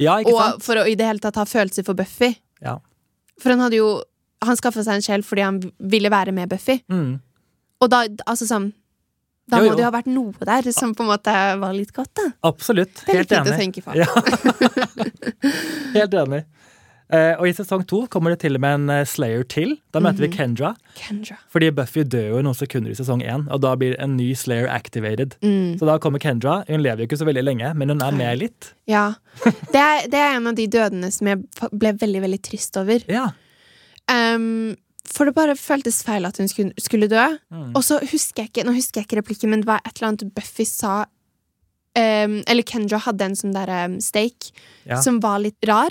Speaker 1: Ja, ikke sant?
Speaker 2: Og for å i det hele tatt ha følelser for Buffy.
Speaker 1: Ja.
Speaker 2: For han hadde jo Han skaffa seg en sjel fordi han ville være med Buffy.
Speaker 1: Mm.
Speaker 2: Og da, altså sånn Da
Speaker 1: Jo, jo.
Speaker 2: må det jo ha vært noe der som på en måte var litt godt, da.
Speaker 1: Absolutt.
Speaker 2: Det er litt
Speaker 1: Helt
Speaker 2: fint å
Speaker 1: enig.
Speaker 2: tenke på.
Speaker 1: Ja. Helt enig. Eh, og I sesong to kommer det til og med en eh, Slayer til. Da møter
Speaker 2: Mhm.
Speaker 1: vi Kendra.
Speaker 2: Kendra.
Speaker 1: Fordi Buffy dør jo i noen sekunder i sesong én, og da blir en ny Slayer activated.
Speaker 2: Mm,
Speaker 1: Så da kommer Kendra. Hun lever jo ikke så veldig lenge, men hun er med litt.
Speaker 2: ja. Det er, det er en av de dødene som jeg fa- ble veldig, veldig trist over.
Speaker 1: Ja,
Speaker 2: Ehm, for det bare føltes feil at hun skulle, skulle dø.
Speaker 1: Mm.
Speaker 2: Og så husker jeg ikke Nå husker jeg ikke replikken, men det var et eller annet Buffy sa ehm, Eller Kendra hadde en sånn der um, stake
Speaker 1: Ja.
Speaker 2: som var litt rar.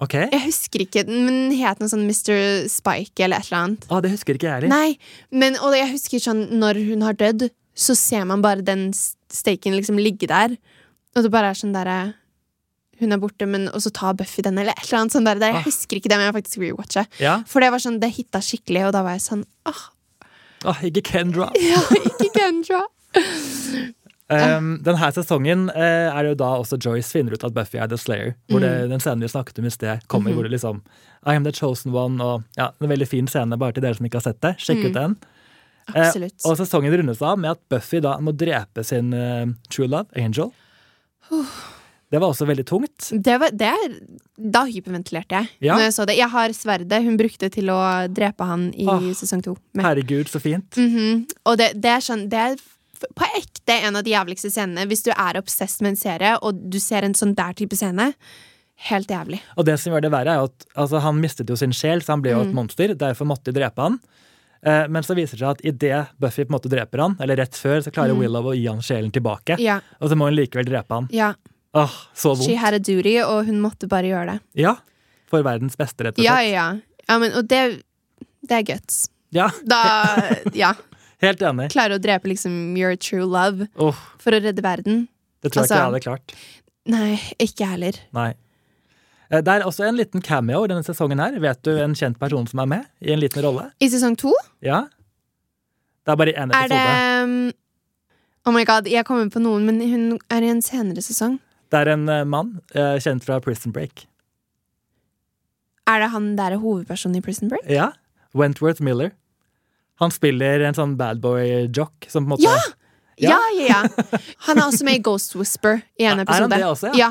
Speaker 1: ok.
Speaker 2: Jeg husker ikke, den, men den het noe sånn Mr. Spike eller et eller annet.
Speaker 1: Ah, det husker ikke jeg heller.
Speaker 2: Nei, men, Og jeg husker sånn når hun har dødd, så ser man bare den s- staken liksom ligge der. Og det bare er sånn derre Hun er borte, men og så tar Buffy den, eller et eller annet sånt der.
Speaker 1: Ah.
Speaker 2: Jeg husker ikke det, men jeg har faktisk rewatcha.
Speaker 1: Ja.
Speaker 2: For det var sånn, det hitta skikkelig, og da var jeg sånn Åh,
Speaker 1: Ah, ikke Kendra.
Speaker 2: ja, ikke Kendra!
Speaker 1: Um, denne sesongen eh, er det jo da også Joyce finner ut at Buffy er The Slayer. Hvor det, den scenen vi snakket om i sted, kommer hvor det liksom I am the chosen one. Og, ja, en veldig fin scene, bare til dere som ikke har sett det. Sjekk ut den. Eh,
Speaker 2: Absolutt.
Speaker 1: og sesongen rundes av med at Buffy da må drepe sin eh, true love, Angel. Det var også veldig tungt.
Speaker 2: Det var, det er, da hyperventilerte jeg.
Speaker 1: Ja.
Speaker 2: Når Jeg så det Jeg har sverdet hun brukte til å drepe han i
Speaker 1: Ah.
Speaker 2: sesong to. Med.
Speaker 1: Herregud, så fint.
Speaker 2: Mhm. Og det, det er sånn Det er f- på ekte en av de jævligste scenene hvis du er obsess med en serie, og du ser en sånn der type scene. Helt jævlig.
Speaker 1: Og det som gjør det verre, er jo at altså, han mistet jo sin sjel, så han ble jo et monster. Derfor måtte de drepe han. Eh, men så viser det seg at idet Buffy på en måte dreper han, eller rett før, så klarer Willow å gi han sjelen tilbake.
Speaker 2: Ja,
Speaker 1: Og så må hun likevel drepe han.
Speaker 2: ja.
Speaker 1: Åh, så
Speaker 2: She
Speaker 1: vondt.
Speaker 2: had a duty, og hun måtte bare gjøre det.
Speaker 1: Ja. For verdens beste, rett og
Speaker 2: Ja,
Speaker 1: slett.
Speaker 2: ja. ja men, og det, det er guts.
Speaker 1: Ja,
Speaker 2: Da Ja.
Speaker 1: helt enig.
Speaker 2: Klare å drepe liksom your true love
Speaker 1: Åh,
Speaker 2: for å redde verden.
Speaker 1: det tror jeg ikke jeg
Speaker 2: Altså-
Speaker 1: hadde klart.
Speaker 2: Nei, ikke jeg heller.
Speaker 1: Nei. Eh, Det er også en liten cameo i denne sesongen her. Vet du en kjent person som er med i en liten rolle?
Speaker 2: I sesong to
Speaker 1: Ja? Det er bare i én
Speaker 2: er det
Speaker 1: episode.
Speaker 2: um, Oh my god, jeg kommer på noen, men hun er i en senere sesong.
Speaker 1: Det er en eh, mann eh, kjent fra Prison Break.
Speaker 2: Er det han der er hovedpersonen i Prison Break?
Speaker 1: Ja? Wentworth Miller. Han spiller en sånn bad boy-jock som på en måte
Speaker 2: Ja!
Speaker 1: Ja.
Speaker 2: Ja, ja, ja. Han er også med i Ghost Whisper i
Speaker 1: Er
Speaker 2: en
Speaker 1: han
Speaker 2: episode.
Speaker 1: det også, ja?
Speaker 2: ja.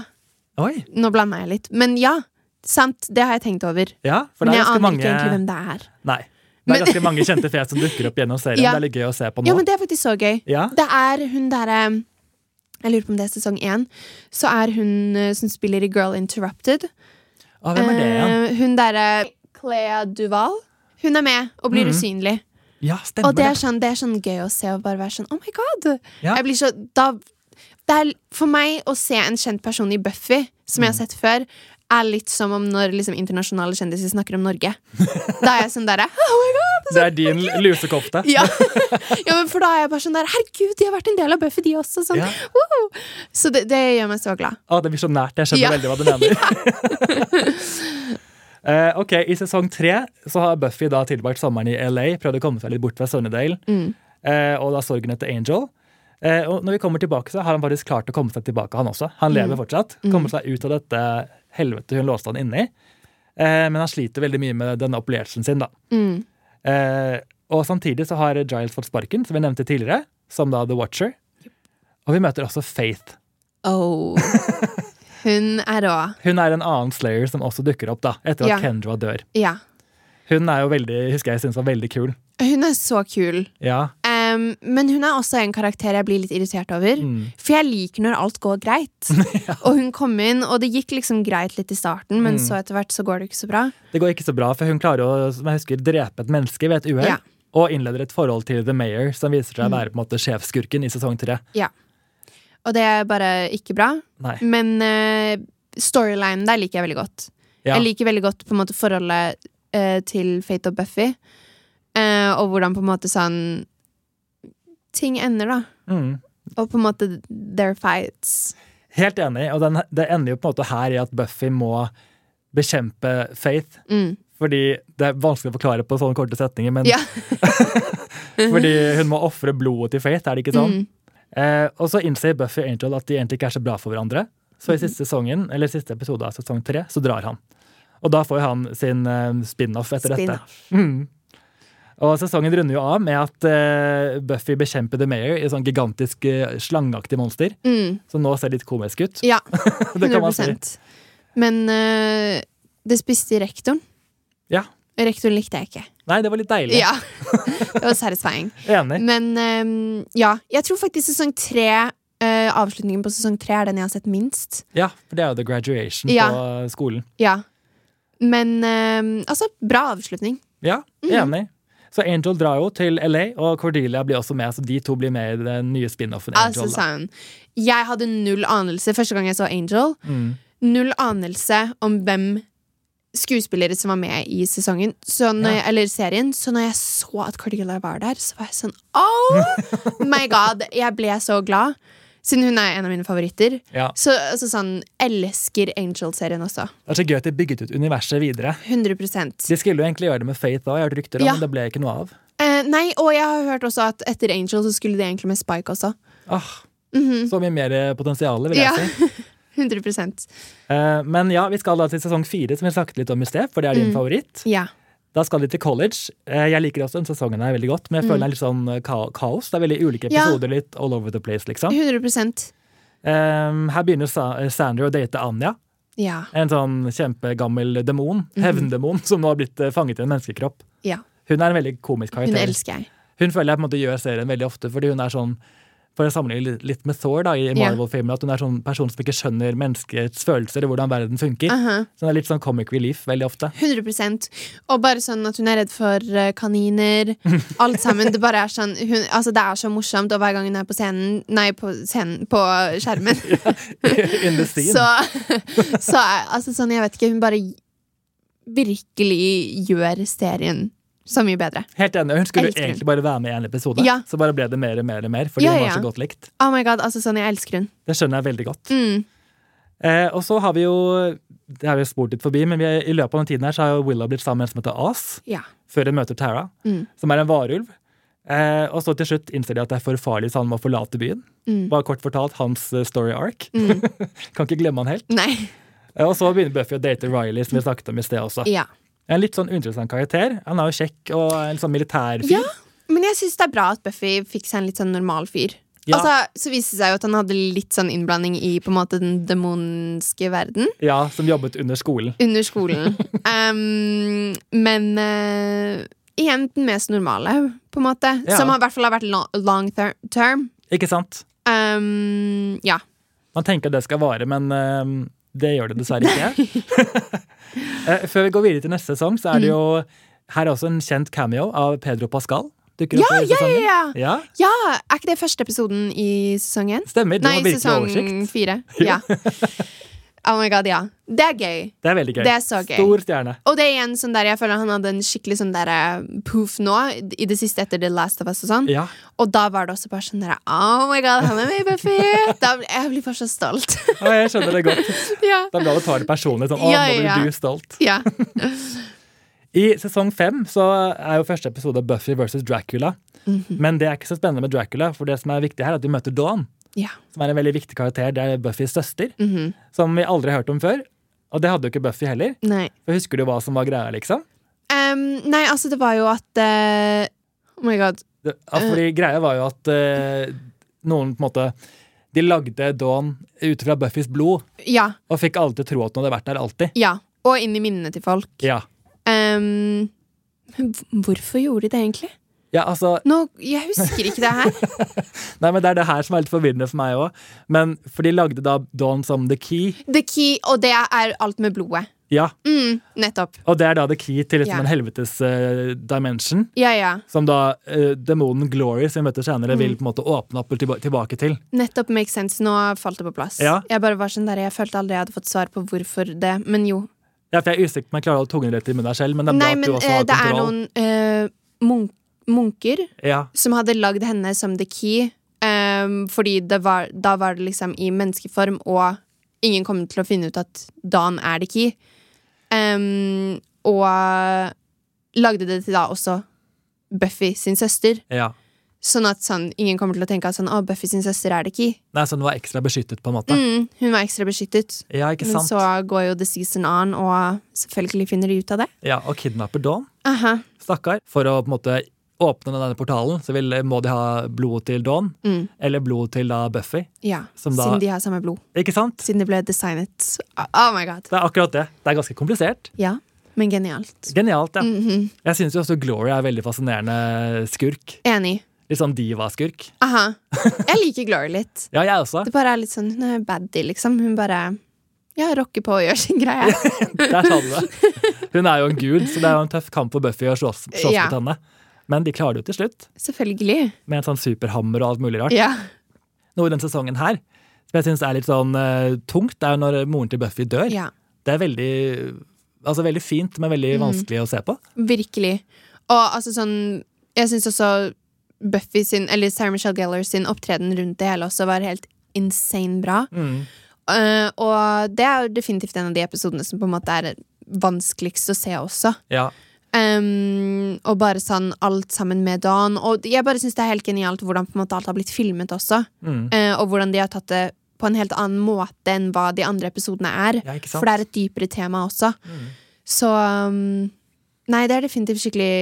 Speaker 1: Oi!
Speaker 2: Nå blanda jeg litt. Men ja, sant. Det har jeg tenkt over.
Speaker 1: Ja, for det
Speaker 2: Men
Speaker 1: er
Speaker 2: jeg
Speaker 1: ganske
Speaker 2: aner
Speaker 1: mange
Speaker 2: ikke egentlig hvem det er.
Speaker 1: Nei. Det er
Speaker 2: Men-
Speaker 1: ganske mange kjente fjes som dukker opp gjennom serien. Det
Speaker 2: Ja.
Speaker 1: er litt gøy å se på nå.
Speaker 2: Ja, men det er faktisk så gøy.
Speaker 1: Ja.
Speaker 2: Det er hun derre Jeg lurer på om det er sesong én. Så er hun eh, som spiller i Girl Interrupted.
Speaker 1: Å, Ah, hvem er det igjen?
Speaker 2: Eh, hun derre Clea Duval. Hun er med og blir
Speaker 1: Mhm.
Speaker 2: usynlig.
Speaker 1: Ja,
Speaker 2: Og
Speaker 1: stemmer
Speaker 2: det
Speaker 1: det.
Speaker 2: er, sånn, det er sånn gøy å se og bare være sånn Oh my god!
Speaker 1: Ja.
Speaker 2: Jeg blir så da, det er, For meg å se en kjent person i Buffy, som jeg har
Speaker 1: Mm.
Speaker 2: sett før, er litt som om når liksom, internasjonale kjendiser snakker om Norge. Da er jeg sånn derre Oh my god!
Speaker 1: Det er din lusekofte.
Speaker 2: Ja. ja, men for da er jeg bare sånn der Herregud, de har vært en del av Buffy, de også. Sånn.
Speaker 1: Ja.
Speaker 2: Wow. Så det, det gjør meg så glad.
Speaker 1: Å, Ah, det blir så nært. Jeg skjønner
Speaker 2: Ja.
Speaker 1: veldig hva du mener. Eh, ok, I sesong tre så har Buffy da tilbrakt sommeren i LA, prøvd å komme seg litt bort fra Sunnydale.
Speaker 2: Mm.
Speaker 1: Eh, og da sorgen etter Angel. Eh, og når vi kommer tilbake, så har han faktisk klart å komme seg tilbake, han også. Han
Speaker 2: Mm.
Speaker 1: lever fortsatt. Kommer seg ut av dette helvete hun låste han inne i. Eh, men han sliter veldig mye med denne opplevelsen sin, da.
Speaker 2: Mm.
Speaker 1: Eh, og samtidig så har Giles fått sparken, som vi nevnte tidligere, som da The Watcher. Og vi møter også Faith.
Speaker 2: Oh. Hun er rå.
Speaker 1: Hun er en annen Slayer som også dukker opp da, etter at
Speaker 2: Ja.
Speaker 1: Kendra dør.
Speaker 2: Ja.
Speaker 1: Hun er jo veldig, husker jeg synes var veldig kul.
Speaker 2: Hun er så kul.
Speaker 1: Ja,
Speaker 2: Em, men hun er også en karakter jeg blir litt irritert over.
Speaker 1: Mm.
Speaker 2: For jeg liker når alt går greit. Og hun kom inn, og det gikk liksom greit litt i starten, men
Speaker 1: Mm.
Speaker 2: så etter hvert så går det ikke så bra.
Speaker 1: Det går ikke så bra, for hun klarer å som jeg husker, drepe et menneske ved et uhell.
Speaker 2: Ja. Mm.
Speaker 1: Og innleder et forhold til The Mayor, som viser seg å være på en måte sjefskurken i sesong tre.
Speaker 2: Ja. Og det er bare ikke bra.
Speaker 1: Nei.
Speaker 2: Men eh, storylinen der liker jeg veldig godt.
Speaker 1: Ja.
Speaker 2: Jeg liker veldig godt på en måte forholdet eh, til Fate og Buffy, eh, og hvordan på en måte sånn Ting ender, da.
Speaker 1: Mm.
Speaker 2: Og på en måte their fights.
Speaker 1: Helt enig, og den, det ender jo på en måte her i at Buffy må bekjempe Faith.
Speaker 2: Mm.
Speaker 1: Fordi det er vanskelig å forklare på sånne korte setninger, men
Speaker 2: Ja.
Speaker 1: fordi hun må ofre blodet til Faith, er det ikke sånn?
Speaker 2: Mm.
Speaker 1: Eh, og så innser Buffy og Angel at de egentlig ikke er så bra for hverandre. Så
Speaker 2: Mm-hmm.
Speaker 1: i siste sesongen, eller siste episode av sesong tre, så drar han. Og da får han sin eh, spin-off etter dette. Mm. Og sesongen runder jo av med at eh, Buffy bekjemper The Mayor i sånn gigantisk eh, slangeaktig monster,
Speaker 2: Mm.
Speaker 1: som nå ser litt komisk ut.
Speaker 2: Ja.
Speaker 1: Det kan man si.
Speaker 2: 100 Men eh, det spiste rektoren.
Speaker 1: Ja.
Speaker 2: Rektoren likte jeg ikke.
Speaker 1: Nei, det var litt deilig.
Speaker 2: Ja. det var satisfying.
Speaker 1: Enig.
Speaker 2: Men eh, ja, jeg tror faktisk sesong tre eh, avslutningen på sesong tre er den jeg har sett minst.
Speaker 1: Ja, for det er jo The Graduation
Speaker 2: Ja.
Speaker 1: på skolen.
Speaker 2: Ja. Men eh, altså, bra avslutning.
Speaker 1: Ja,
Speaker 2: Mhm.
Speaker 1: enig. Så Angel drar jo til LA, og Cordelia blir også med, så de to blir med i den nye spin-offen.
Speaker 2: Altså,
Speaker 1: Angel, da.
Speaker 2: sånn. Jeg hadde null anelse første gang jeg så Angel.
Speaker 1: Mm.
Speaker 2: Null anelse om hvem skuespillere som var med i sesongen, så når
Speaker 1: Ja.
Speaker 2: jeg, eller serien. Så når jeg så at Cordelia var der, så var jeg sånn Oh my god! Jeg ble så glad. Siden hun er en av mine favoritter.
Speaker 1: Ja.
Speaker 2: Så altså, sånn, elsker Angel-serien også.
Speaker 1: Det er så gøy at de bygget ut universet videre.
Speaker 2: 100
Speaker 1: De skulle jo egentlig gjøre det med Faith òg, jeg har hørt rykter om,
Speaker 2: Ja.
Speaker 1: men det ble ikke noe av.
Speaker 2: eh, Nei, og jeg har hørt også at etter Angel så skulle det egentlig med Spike også.
Speaker 1: Ah, Så mye mer eh, potensial, vil jeg
Speaker 2: Mhm. Ja.
Speaker 1: si.
Speaker 2: 100
Speaker 1: Eh, men ja, vi skal da til sesong fire, som vi snakket litt om i sted, for det er
Speaker 2: Mhm.
Speaker 1: din favoritt.
Speaker 2: Ja.
Speaker 1: Da skal de til college. Eh, jeg liker også den sesongen her veldig godt, men jeg føler den er litt sånn eh, ka kaos. Det er veldig ulike
Speaker 2: Mhm. Ja.
Speaker 1: episoder, litt all over the place, liksom.
Speaker 2: 100
Speaker 1: Eh, her begynner Sa eh, Sandra å date Anja,
Speaker 2: Ja.
Speaker 1: en sånn kjempegammel demon,
Speaker 2: Mhm.
Speaker 1: hevndemon, som nå har blitt eh, fanget i en menneskekropp.
Speaker 2: ja.
Speaker 1: Hun er en veldig komisk karakter.
Speaker 2: Hun elsker jeg.
Speaker 1: Hun føler jeg på en måte gjør serien veldig ofte, fordi hun er sånn for å sammenligne litt- litt med Thor da, i Marvel-filmen, at hun er sånn person som ikke skjønner menneskets følelser og hvordan verden funker.
Speaker 2: Aha.
Speaker 1: Så hun er litt sånn comic relief veldig ofte.
Speaker 2: 100 Og bare sånn at hun er redd for eh, kaniner. Alt sammen. Det bare er sånn hun, altså Det er så morsomt, og hver gang hun er på scenen Nei, på scenen, på skjermen,
Speaker 1: In the scene.
Speaker 2: så, så er- Altså sånn, jeg vet ikke. Hun bare virkelig gjør serien så mye bedre.
Speaker 1: Helt enig. Hun skulle
Speaker 2: elsker hun.
Speaker 1: egentlig bare være med i en episode,
Speaker 2: Ja.
Speaker 1: så bare ble det mer og mer og mer, fordi
Speaker 2: Ja,
Speaker 1: hun var
Speaker 2: ja.
Speaker 1: så godt likt.
Speaker 2: Oh my god, altså sånn, jeg elsker hun.
Speaker 1: Det skjønner jeg veldig godt.
Speaker 2: Mm.
Speaker 1: Eh, og så har vi jo Det har vi spurt litt forbi, men vi er, i løpet av den tiden her så har jo Willow blitt sammen med en som heter Oz,
Speaker 2: Ja.
Speaker 1: før hun møter Tara,
Speaker 2: Mm.
Speaker 1: som er en varulv. Eh, og så til slutt innser de at det er for farlig, så han må forlate byen.
Speaker 2: Mm.
Speaker 1: Bare kort fortalt hans eh, story arc.
Speaker 2: Mm.
Speaker 1: Kan ikke glemme han helt.
Speaker 2: Nei.
Speaker 1: Eh, Og så begynner Buffy å date Riley, som vi snakket om i sted også.
Speaker 2: Ja.
Speaker 1: En litt sånn uinteressant karakter. Han er jo kjekk og en sånn militærfyr.
Speaker 2: ja. Men jeg syns det er bra at Buffy fikk seg en litt sånn normal fyr.
Speaker 1: Ja.
Speaker 2: Altså, Så viste det seg jo at han hadde litt sånn innblanding i på en måte den demonske verden.
Speaker 1: Ja, som jobbet under skolen.
Speaker 2: Under skolen. um, men eh, igjen den mest normale, på en måte.
Speaker 1: Ja.
Speaker 2: Som har- i hvert fall har vært long, long ter term.
Speaker 1: Ikke sant?
Speaker 2: Um, ja.
Speaker 1: Man tenker at det skal vare, men eh, det gjør det dessverre ikke. Eh, Før vi går videre til neste sesong, så er
Speaker 2: Mm.
Speaker 1: det jo her er også en kjent cameo av Pedro Pascal. Dukker opp
Speaker 2: Ja,
Speaker 1: i
Speaker 2: ja, ja,
Speaker 1: sesongen.
Speaker 2: ja.
Speaker 1: ja.
Speaker 2: ja! Er ikke det første episoden i sesongen?
Speaker 1: Stemmer. Du
Speaker 2: Nei,
Speaker 1: har virkelig
Speaker 2: sesong
Speaker 1: oversikt.
Speaker 2: fire. Ja. Oh my god, ja. Det er gøy.
Speaker 1: Det er veldig gøy.
Speaker 2: Det er så gøy.
Speaker 1: Stor stjerne.
Speaker 2: Og det er igjen sånn der jeg føler han hadde en skikkelig sånn der eh, poof nå, i det siste etter The Last of Us og sånn.
Speaker 1: Ja.
Speaker 2: Og da var det også bare sånn der Oh my god, han er med i Buffy! Da, jeg blir bare så stolt.
Speaker 1: Å, jeg skjønner det godt.
Speaker 2: ja.
Speaker 1: Det er bra du tar det personlig. Sånn, å,
Speaker 2: Ja,
Speaker 1: nå
Speaker 2: ja.
Speaker 1: blir du stolt.
Speaker 2: ja.
Speaker 1: I sesong fem så er jo første episode av Buffy versus Dracula.
Speaker 2: Mhm.
Speaker 1: Men det er ikke så spennende med Dracula, for det som er viktig her, er at vi møter Dawn,
Speaker 2: Ja. Mm-hmm.
Speaker 1: som er en veldig viktig karakter. Det er Buffys søster, som vi aldri har hørt om før. Og det hadde jo ikke Buffy heller.
Speaker 2: Nei.
Speaker 1: For husker du hva som var greia, liksom?
Speaker 2: Em, nei, altså, det var jo at eh, Oh my god.
Speaker 1: Det, at fordi greia var jo at eh, noen på en måte De lagde Dawn ut fra Buffys blod,
Speaker 2: Ja.
Speaker 1: og fikk alle til å tro at hun hadde vært der alltid.
Speaker 2: Ja. Og inn i minnene til folk.
Speaker 1: Ja,
Speaker 2: Em, men h- hvorfor gjorde de det, egentlig?
Speaker 1: ja altså
Speaker 2: Nå, Jeg husker ikke det her.
Speaker 1: Nei, men Det er det her som er litt forvirrende for meg òg. Men for de lagde da Dawn som the key.
Speaker 2: The key, og det er alt med blodet.
Speaker 1: Ja,
Speaker 2: Mm, nettopp.
Speaker 1: Og det er da the key til liksom
Speaker 2: Ja.
Speaker 1: en helvetes eh, dimension.
Speaker 2: Ja, ja.
Speaker 1: Som da eh, demonen Glory, som vi møter senere,
Speaker 2: Mm.
Speaker 1: vil på en måte åpne opp og tilba tilbake til.
Speaker 2: Nettopp makes sense. Nå falt det på plass.
Speaker 1: Ja.
Speaker 2: Jeg bare var sånn der, jeg følte aldri jeg hadde fått svar på hvorfor det, men jo.
Speaker 1: Ja, for Jeg er usikker på om jeg klarer å holde tungen rett i munnen her selv, men det er bra
Speaker 2: Nei,
Speaker 1: at
Speaker 2: men
Speaker 1: du også
Speaker 2: eh,
Speaker 1: har
Speaker 2: det er
Speaker 1: kontroll.
Speaker 2: noen eh, mun munker
Speaker 1: Ja,
Speaker 2: som hadde lagd henne som the key, em, fordi det var, da var det liksom i menneskeform, og ingen kom til å finne ut at Dan er the key. Em, og lagde det til da også Buffy sin søster,
Speaker 1: ja.
Speaker 2: sånn at sånn, ingen kommer til å tenke at sånn, å, Buffy sin søster er the key.
Speaker 1: Nei, Så den var ekstra beskyttet, på en måte.
Speaker 2: Mm, hun var ekstra beskyttet.
Speaker 1: Ja, ikke
Speaker 2: Men
Speaker 1: sant?
Speaker 2: så går jo The Season on, og selvfølgelig finner de ut av det.
Speaker 1: Ja, Og kidnapper Dawn,
Speaker 2: Aha.
Speaker 1: stakkar. For å på en måte åpne denne portalen, så vil, eh, må de ha blodet til Dawn.
Speaker 2: Mm.
Speaker 1: Eller blodet til da Buffy.
Speaker 2: Ja,
Speaker 1: Som da-
Speaker 2: Siden de har samme blod.
Speaker 1: Ikke sant?
Speaker 2: Siden det ble designet Oh my god.
Speaker 1: Det er akkurat det. Det er ganske komplisert.
Speaker 2: Ja, men genialt. Mhm.
Speaker 1: Genialt, ja.
Speaker 2: Mm.
Speaker 1: Jeg syns jo også Glory er en veldig fascinerende skurk.
Speaker 2: Enig.
Speaker 1: Litt sånn diva-skurk.
Speaker 2: Aha. Jeg liker Glory litt.
Speaker 1: Ja, jeg også.
Speaker 2: Det bare er litt sånn, Hun er baddie, liksom. Hun bare ja, rocker på og gjør sin greie.
Speaker 1: Der sa du det. Hun er jo en gud, så det er jo en tøff kamp for Buffy å slåss, slåss
Speaker 2: Ja.
Speaker 1: mot henne. Men de klarer det jo til slutt,
Speaker 2: Selvfølgelig.
Speaker 1: med en sånn superhammer og alt mulig rart.
Speaker 2: Ja.
Speaker 1: Noe i den sesongen her som jeg syns er litt sånn eh, tungt, er jo når moren til Buffy dør.
Speaker 2: ja.
Speaker 1: Det er veldig, altså, veldig fint, men veldig
Speaker 2: Mm.
Speaker 1: vanskelig å se på.
Speaker 2: Virkelig. Og altså sånn Jeg syns også Buffy sin, eller Sarah Michelle Gellar sin opptreden rundt det hele også var helt insane bra. Eh, og det er jo definitivt en av de episodene som på en måte er vanskeligst å se også.
Speaker 1: Ja.
Speaker 2: Ehm, og bare sånn alt sammen med Dan. Og jeg bare syns det er helt genialt hvordan på en måte alt har blitt filmet også.
Speaker 1: Mm.
Speaker 2: Eh, og hvordan de har tatt det på en helt annen måte enn hva de andre episodene er.
Speaker 1: Ja, ikke sant? Mm.
Speaker 2: For det er et dypere tema også. Så um, Nei, det er definitivt skikkelig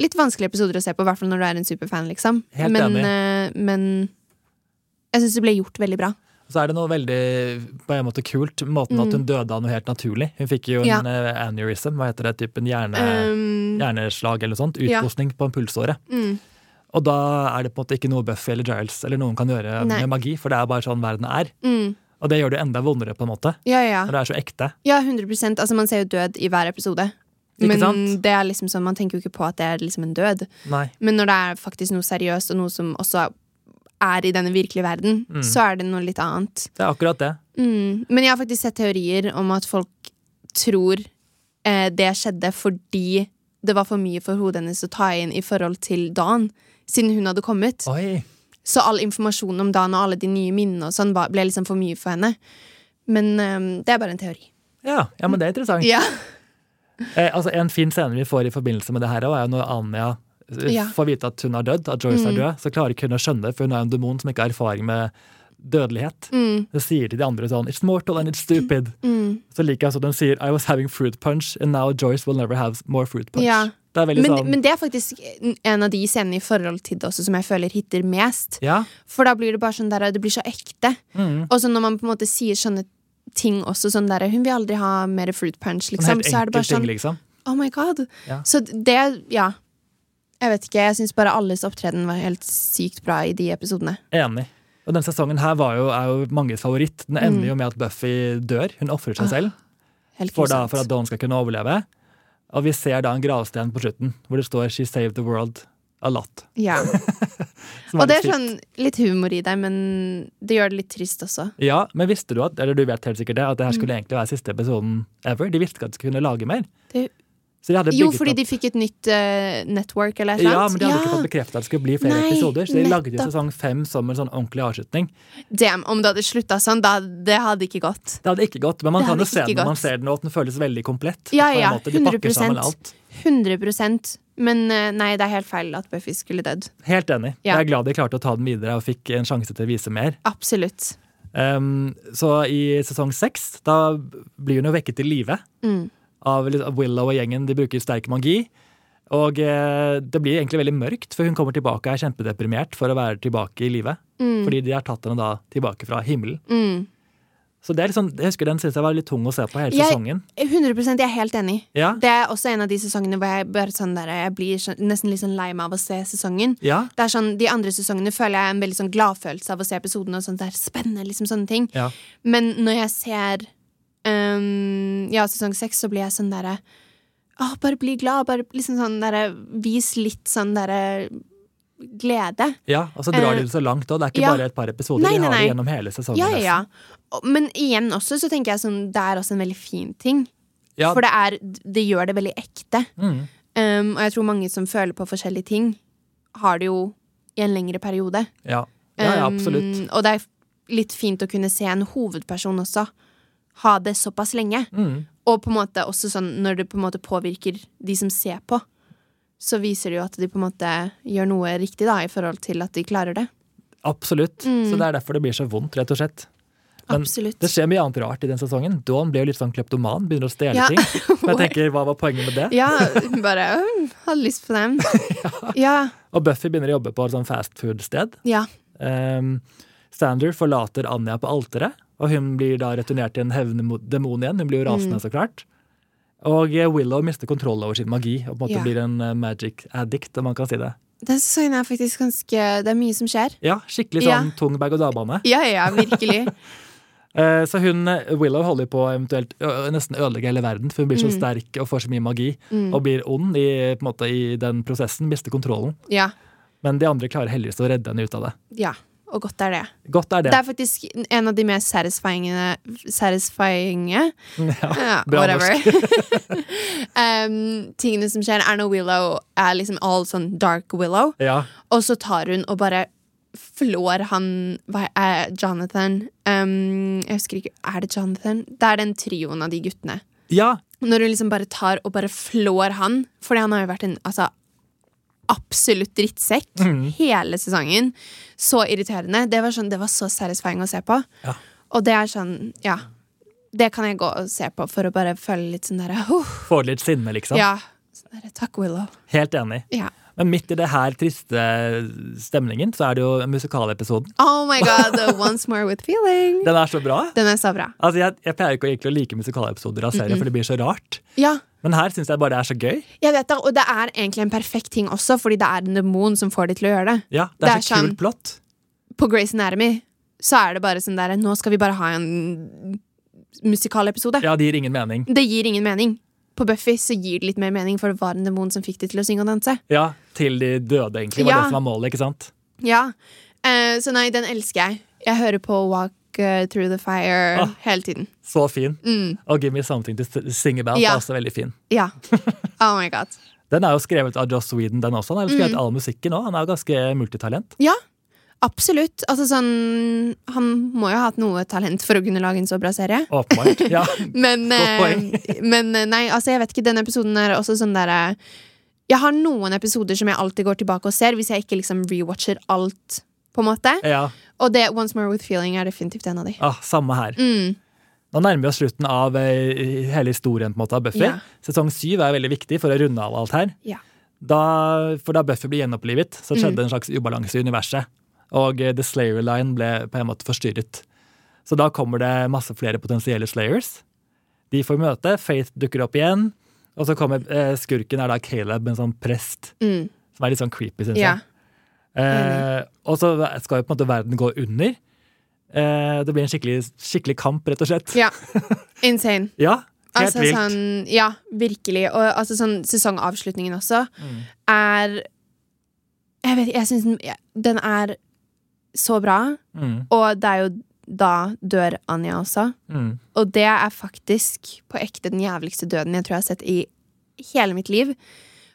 Speaker 2: Litt vanskelige episoder å se på, i hvert fall når du er en superfan, liksom.
Speaker 1: Helt
Speaker 2: men,
Speaker 1: enig.
Speaker 2: eh, men jeg syns det ble gjort veldig bra.
Speaker 1: Og Så er det noe veldig på en måte kult, måten at hun døde av noe helt naturlig. Hun fikk jo en
Speaker 2: Mm. Ja.
Speaker 1: eh, aneurysm, hva heter det, typen hjerne,
Speaker 2: Um,
Speaker 1: hjerneslag eller noe sånt.
Speaker 2: Ja.
Speaker 1: Utposting på impulsåret.
Speaker 2: mm,
Speaker 1: Og da er det på en måte ikke noe Buffy eller Giles eller noen kan gjøre
Speaker 2: Nei.
Speaker 1: med magi, for det er bare sånn verden er.
Speaker 2: mm,
Speaker 1: Og det gjør det enda vondere, på en måte.
Speaker 2: ja, ja.
Speaker 1: Når det er så ekte.
Speaker 2: Ja, 100 Altså, man ser jo død i hver episode.
Speaker 1: Ikke
Speaker 2: Men
Speaker 1: sant?
Speaker 2: det er liksom sånn, man tenker jo ikke på at det er liksom en død.
Speaker 1: Nei.
Speaker 2: Men når det er faktisk noe seriøst, og noe som også er i denne virkelige verden,
Speaker 1: Mm.
Speaker 2: så er det noe litt annet.
Speaker 1: Det er akkurat det.
Speaker 2: Mm. Men jeg har faktisk sett teorier om at folk tror eh, det skjedde fordi det var for mye for hodet hennes å ta inn i forhold til Dan, siden hun hadde kommet.
Speaker 1: Oi.
Speaker 2: Så all informasjon om Dan og alle de nye minnene og sånn var- ble liksom for mye for henne. Men ehm, det er bare en teori.
Speaker 1: Ja, ja, men det er interessant.
Speaker 2: Ja.
Speaker 1: Eh, altså, en fin scene vi får i forbindelse med det her, også er jo når Anja eh,
Speaker 2: Ja. Mm.
Speaker 1: får vite at hun er dødd, at Joyce er død, så klarer ikke hun å skjønne, for hun er jo en demon som ikke har erfaring med dødelighet.
Speaker 2: Mm,
Speaker 1: Så sier de de andre sånn It's mortal and it's stupid.
Speaker 2: mm.
Speaker 1: Så liker jeg sånn den sier I was having fruit punch, and now Joyce will never have more fruit punch.
Speaker 2: Ja.
Speaker 1: Det er veldig
Speaker 2: Men,
Speaker 1: sånn
Speaker 2: men det er faktisk en av de scenene i forhold til det også som jeg føler hitter mest.
Speaker 1: Ja.
Speaker 2: For da blir det bare sånn der, det blir så ekte.
Speaker 1: Mm.
Speaker 2: Og så når man på en måte sier sånne ting også, sånn der Hun vil aldri ha mer fruit punch,
Speaker 1: Sånn
Speaker 2: liksom.
Speaker 1: helt
Speaker 2: Så er det bare
Speaker 1: enkel ting,
Speaker 2: sånn
Speaker 1: liksom.
Speaker 2: Oh my god.
Speaker 1: Ja.
Speaker 2: Så det Ja. Jeg vet ikke. Jeg syns bare alles opptreden var helt sykt bra i de episodene.
Speaker 1: Enig. Og denne sesongen her var jo, er jo manges favoritt. Den ender
Speaker 2: Mm.
Speaker 1: jo med at Buffy dør. Hun ofrer
Speaker 2: Ah,
Speaker 1: seg selv
Speaker 2: Helt
Speaker 1: for, da,
Speaker 2: grusomt.
Speaker 1: for at Dawn skal kunne overleve. Og vi ser da en gravsten på slutten hvor det står 'She saved the world a lot'.
Speaker 2: Ja.
Speaker 1: som
Speaker 2: Og
Speaker 1: litt
Speaker 2: det er
Speaker 1: fint.
Speaker 2: sånn litt humor i det, men det gjør det litt trist også.
Speaker 1: Ja, men visste du at eller du vet helt sikkert det, at det her
Speaker 2: Mm.
Speaker 1: skulle egentlig være siste episoden ever? De visste ikke at de kunne lage mer.
Speaker 2: Det-
Speaker 1: Så de hadde
Speaker 2: Jo,
Speaker 1: bygget
Speaker 2: fordi
Speaker 1: opp-
Speaker 2: de fikk et nytt eh, network eller et eller
Speaker 1: Ja, men
Speaker 2: annet.
Speaker 1: de hadde ikke fått bekreftet at det skulle bli flere
Speaker 2: Nei,
Speaker 1: episoder, så de lagde jo
Speaker 2: nettopp.
Speaker 1: sesong fem som en sånn ordentlig avslutning.
Speaker 2: Damn, om det hadde slutta sånn, da, det hadde ikke gått.
Speaker 1: Det hadde ikke gått, men man
Speaker 2: Det
Speaker 1: kan jo
Speaker 2: hadde
Speaker 1: se
Speaker 2: ikke
Speaker 1: den når man
Speaker 2: gått.
Speaker 1: ser den, og at den føles veldig komplett.
Speaker 2: Ja,
Speaker 1: på en
Speaker 2: ja,
Speaker 1: måte. De pakker
Speaker 2: 100%.
Speaker 1: sammen alt.
Speaker 2: 100 Men eh, nei, det er helt feil at Buffy skulle dødd.
Speaker 1: Helt enig.
Speaker 2: Ja.
Speaker 1: Jeg er glad de klarte å ta den videre og fikk en sjanse til å vise mer.
Speaker 2: Absolutt.
Speaker 1: Um, så i sesong seks, da blir hun jo vekket til live
Speaker 2: Mm.
Speaker 1: av litt- av Willow og gjengen. De bruker sterk magi. Og eh, det blir egentlig veldig mørkt, for hun kommer tilbake og er kjempedeprimert for å være tilbake i live.
Speaker 2: Mm.
Speaker 1: Fordi de har tatt henne da tilbake fra himmelen.
Speaker 2: Mm.
Speaker 1: Så det er liksom, jeg husker den synes jeg var litt tung å se på hele
Speaker 2: Jeg-
Speaker 1: sesongen.
Speaker 2: 100 jeg er helt enig.
Speaker 1: Ja,
Speaker 2: Det er også en av de sesongene hvor jeg, bare sånn der, jeg blir sånn- nesten litt sånn lei meg av å se sesongen.
Speaker 1: ja,
Speaker 2: Det er sånn, De andre sesongene føler jeg en veldig sånn gladfølelse av å se episoden. og sånn, det er spennende, liksom sånne ting.
Speaker 1: ja.
Speaker 2: Men når jeg ser øhm, ja, sesong seks, så blir jeg sånn derre «Åh, Bare bli glad. Bare liksom sånn derre Vis litt sånn derre glede.
Speaker 1: ja. Og så drar
Speaker 2: Eh,
Speaker 1: de det så langt òg. Det er ikke
Speaker 2: ja.
Speaker 1: bare et par episoder.
Speaker 2: Nei,
Speaker 1: de
Speaker 2: nei,
Speaker 1: har det
Speaker 2: nei.
Speaker 1: gjennom hele sesongen.
Speaker 2: Ja, ja, ja. Og- Men igjen også, så tenker jeg sånn, det er også en veldig fin ting.
Speaker 1: Ja.
Speaker 2: For det, er, det gjør det veldig ekte.
Speaker 1: Mm.
Speaker 2: Øhm, og jeg tror mange som føler på forskjellige ting, har det jo i en lengre periode.
Speaker 1: Ja, ja, ja absolutt.
Speaker 2: Um, og det er litt fint å kunne se en hovedperson også ha det såpass lenge.
Speaker 1: Mm.
Speaker 2: Og på en måte også sånn når det på en måte påvirker de som ser på, så viser det jo at de på en måte gjør noe riktig da, i forhold til at de klarer det.
Speaker 1: Absolutt.
Speaker 2: mm.
Speaker 1: Så det er derfor det blir så vondt, rett og slett. Men
Speaker 2: Absolutt.
Speaker 1: det skjer mye annet rart i den sesongen. Dawn blir jo litt sånn kleptoman, begynner å stjele
Speaker 2: Ja.
Speaker 1: ting. Men jeg tenker, hva var poenget med det?
Speaker 2: Ja, bare øh, hadde lyst på dem. Ja.
Speaker 1: Og Buffy begynner å jobbe på et sånn fastfood-sted.
Speaker 2: Ja.
Speaker 1: Um, Sander forlater Anja på alteret, og hun blir da returnert til en hevndemon igjen. Hun blir jo
Speaker 2: Mm.
Speaker 1: rasende, så klart. Og eh, Willow mister kontroll over sin magi og på en måte
Speaker 2: Ja.
Speaker 1: blir en eh, magic addict, om man kan si det.
Speaker 2: Den sesongen er faktisk ganske Det er mye som skjer.
Speaker 1: Ja, skikkelig
Speaker 2: Ja.
Speaker 1: sånn tung berg-og-dal-bane.
Speaker 2: Ja, ja, virkelig.
Speaker 1: Eh, Så hun, eh, Willow holder på å eventuelt ø- ø- nesten ødelegge hele verden, for hun blir
Speaker 2: Mm.
Speaker 1: så sterk og får så mye magi. Og blir ond i, på en måte, i den prosessen, mister kontrollen.
Speaker 2: Ja.
Speaker 1: Men de andre klarer heldigvis å redde henne ut av det.
Speaker 2: ja. Og godt er det.
Speaker 1: Godt er det.
Speaker 2: Det er faktisk en av de mest satisfyingene Satisfyinge
Speaker 1: bra
Speaker 2: ja, Whatever um, Tingene som skjer er når Willow er liksom all sånn dark Willow
Speaker 1: Ja,
Speaker 2: Og så tar hun og bare flår han hva er, Jonathan um, Jeg husker ikke, er det Jonathan? Det er den trioen av de guttene
Speaker 1: ja,
Speaker 2: Når hun liksom bare tar og bare flår han Fordi han har jo vært en, altså Absolutt drittsekk Hele sesongen Så irriterende, det var, sånn, det var så satisfying å se på
Speaker 1: ja.
Speaker 2: og det er sånn, ja Det kan jeg gå og se på for å bare føle litt sånn der «Huh,
Speaker 1: Får litt sinne, liksom.
Speaker 2: Ja, sånn der, takk Willow
Speaker 1: Helt enig.
Speaker 2: ja.
Speaker 1: Men midt i det her triste stemningen, så er det jo musikalepisoden.
Speaker 2: Oh my god, once more with feeling
Speaker 1: Den er så bra.
Speaker 2: Den er så bra
Speaker 1: Altså, jeg, jeg pleier ikke å egentlig å like musikalepisoder av serier, for det blir så rart.
Speaker 2: Ja,
Speaker 1: Men her syns jeg bare det er så gøy.
Speaker 2: jeg vet det, og det er egentlig en perfekt ting også Fordi det er en dæmon som får de til å gjøre det
Speaker 1: Ja, Det er,
Speaker 2: Det er
Speaker 1: så kult
Speaker 2: sånn-
Speaker 1: plott.
Speaker 2: På Grey's Anatomy så er det bare sånn der Nå skal vi bare ha en musikalepisode
Speaker 1: Ja, det gir ingen mening.
Speaker 2: Det gir ingen mening På Buffy så gir det litt mer mening For det var en dæmon som fikk de til å synge og danse
Speaker 1: Ja, til de døde, egentlig. var
Speaker 2: Ja.
Speaker 1: det som var målet, ikke sant?
Speaker 2: Ja. Eh, så nei, den elsker jeg. Jeg hører på Walk eh, Through the Fire
Speaker 1: Ah.
Speaker 2: hele tiden.
Speaker 1: Så fin.
Speaker 2: Mm.
Speaker 1: Og Give Me Something to s- Sing About
Speaker 2: Ja.
Speaker 1: er også veldig fin.
Speaker 2: Ja. Oh my god. Mm.
Speaker 1: Den er jo skrevet av Joss Whedon, den også. Han har jo skrevet all musikken òg. Han er jo ganske multitalent.
Speaker 2: Ja. Absolutt. Altså sånn Han må jo ha hatt noe talent for å kunne lage en så bra serie.
Speaker 1: Åpenbart. Ja.
Speaker 2: Men,
Speaker 1: Godt
Speaker 2: eh, men eh, nei, altså jeg vet ikke. Denne episoden er også sånn der eh, Jeg har noen episoder som jeg alltid går tilbake og ser, hvis jeg ikke liksom rewatcher alt, på en måte.
Speaker 1: ja.
Speaker 2: Og det Once More With Feeling er definitivt en av de.
Speaker 1: Ah, samme her.
Speaker 2: Mm.
Speaker 1: Nå nærmer vi oss slutten av eh, hele historien på en måte, av Buffy.
Speaker 2: Ja.
Speaker 1: Sesong syv er veldig viktig for å runde av alt her.
Speaker 2: Ja.
Speaker 1: Da, for da Buffy ble gjenopplivet, så
Speaker 2: Mm.
Speaker 1: skjedde en slags ubalanse i universet. Og eh, The Slayer Line ble på en måte forstyrret. Så da kommer det masse flere potensielle Slayers. De får møte, Faith dukker opp igjen. Og så kommer eh, skurken, er da Caleb, en sånn prest
Speaker 2: Mm.
Speaker 1: som er litt sånn creepy, syns
Speaker 2: ja.
Speaker 1: jeg. Eh, og så skal jo på en måte verden gå under. Eh, det blir en skikkelig, skikkelig kamp, rett og slett.
Speaker 2: ja. Insane.
Speaker 1: Ja, helt
Speaker 2: Altså,
Speaker 1: vilt.
Speaker 2: sånn, ja, virkelig. Og altså, sånn, sesongavslutningen også
Speaker 1: Mm.
Speaker 2: er Jeg vet ikke, jeg syns den, ja, den er så bra.
Speaker 1: Mm,
Speaker 2: Og det er jo da dør Anja også.
Speaker 1: mm.
Speaker 2: Og det er faktisk på ekte den jævligste døden jeg tror jeg har sett i hele mitt liv.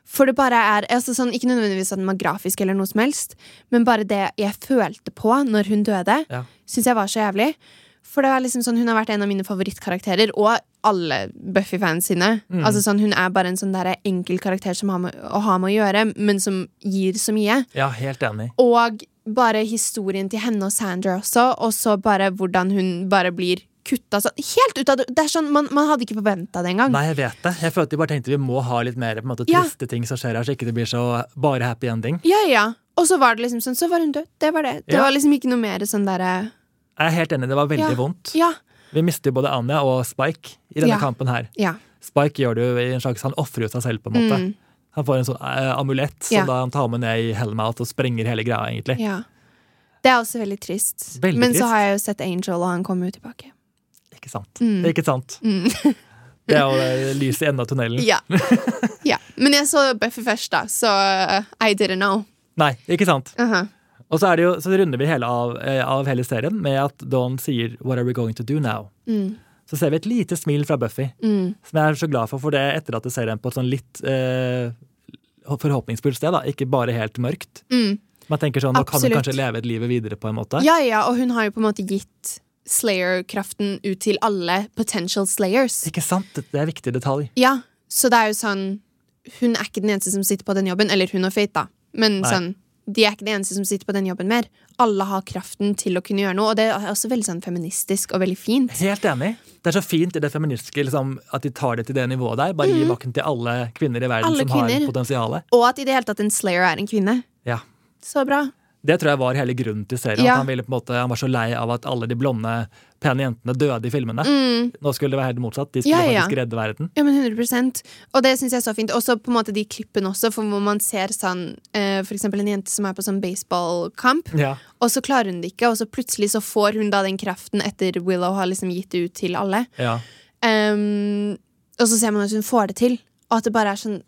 Speaker 2: For det bare er altså sånn, Ikke nødvendigvis at den var grafisk, eller noe som helst men bare det jeg følte på når hun døde,
Speaker 1: Ja.
Speaker 2: syns jeg var så jævlig. For det var liksom sånn, Hun har vært en av mine favorittkarakterer, og alle Buffy-fans sine. Altså sånn, Hun er bare en sånn der enkel karakter som har med, å ha med å gjøre, men som gir så mye.
Speaker 1: ja, helt enig.
Speaker 2: Og bare historien til henne og Sandra også, og så bare hvordan hun bare blir kutta sånn helt ut av det. det er sånn, man, man hadde ikke forventa det engang.
Speaker 1: Nei, jeg vet det. Jeg følte de bare tenkte vi må ha litt mer på en måte,
Speaker 2: Ja.
Speaker 1: triste ting som skjer her, så ikke det blir så bare happy ending.
Speaker 2: Ja, ja. Og så var det liksom sånn, så var hun død. Det var det. Det
Speaker 1: Ja.
Speaker 2: var liksom ikke noe mer sånn derre
Speaker 1: Jeg er helt enig, det var veldig
Speaker 2: Ja.
Speaker 1: vondt.
Speaker 2: Ja.
Speaker 1: Vi mister jo både Anja og Spike i denne
Speaker 2: Ja.
Speaker 1: kampen her.
Speaker 2: Ja.
Speaker 1: Spike gjør det jo i en slags, han offrer jo seg selv, på en måte.
Speaker 2: Mm.
Speaker 1: Han får en sånn eh, amulett som
Speaker 2: Ja.
Speaker 1: da han tar med ned i Hellmouth og sprenger hele greia, egentlig.
Speaker 2: ja. Det er også veldig trist.
Speaker 1: Veldig
Speaker 2: Men
Speaker 1: trist.
Speaker 2: så har jeg jo sett Angel, og han kommer jo tilbake.
Speaker 1: Ikke sant?
Speaker 2: Mm.
Speaker 1: Ikke sant?
Speaker 2: Mm.
Speaker 1: Det er jo eh, lyset i enden av tunnelen.
Speaker 2: ja. ja. Men jeg så Buffy først, da, så uh, I didn't know. Uh-huh.
Speaker 1: Nei, ikke sant?
Speaker 2: Aha.
Speaker 1: Og så, er det jo, så runder vi hele av, eh, av hele serien med at Dawn sier 'What are we going to do now?'
Speaker 2: mm.
Speaker 1: Så ser vi et lite smil fra Buffy,
Speaker 2: Mm.
Speaker 1: som jeg er så glad for, for det etterlater serien på et sånn litt eh, forhåpningsfullt sted. da, Ikke bare helt mørkt.
Speaker 2: Mm.
Speaker 1: Man tenker sånn, Nå kan hun
Speaker 2: Absolutt.
Speaker 1: kanskje leve et livet videre, på en måte.
Speaker 2: Ja, ja, og hun har jo på en måte gitt Slayer-kraften ut til alle potential Slayers.
Speaker 1: Ikke sant? Det er en viktig detalj.
Speaker 2: Ja, så det er jo sånn Hun er ikke den eneste som sitter på den jobben. Eller hun og Fate, da. Men
Speaker 1: Nei.
Speaker 2: sånn, de er ikke den eneste som sitter på den jobben mer. Alle har kraften til å kunne gjøre noe, og det er også veldig sånn feministisk og veldig fint.
Speaker 1: Helt enig. Det er så fint i det feministiske liksom, at de tar det til det nivået der. Bare gi makten til alle kvinner i verden
Speaker 2: Mm. Alle
Speaker 1: som har
Speaker 2: kvinner.
Speaker 1: potensial.
Speaker 2: Og at i det hele tatt en Slayer er en kvinne.
Speaker 1: Ja.
Speaker 2: Så bra.
Speaker 1: Det tror jeg var hele grunnen til serien.
Speaker 2: Ja.
Speaker 1: At han, ville på en måte, han var så lei av at alle de blonde, pene jentene døde i filmene. Nå skulle det være helt motsatt. De skulle
Speaker 2: Mm. Ja, ja.
Speaker 1: faktisk redde verden.
Speaker 2: Ja, men 100 Og det syns jeg er så fint. Også på en måte de klippene også, for hvor man ser sånn eh, For eksempel en jente som er på sånn baseballkamp,
Speaker 1: Ja.
Speaker 2: og så klarer hun det ikke, og så plutselig så får hun da den kraften etter Willow har liksom gitt det ut til alle.
Speaker 1: Ja.
Speaker 2: Ehm, og så ser man at hun får det til, og at det bare er sånn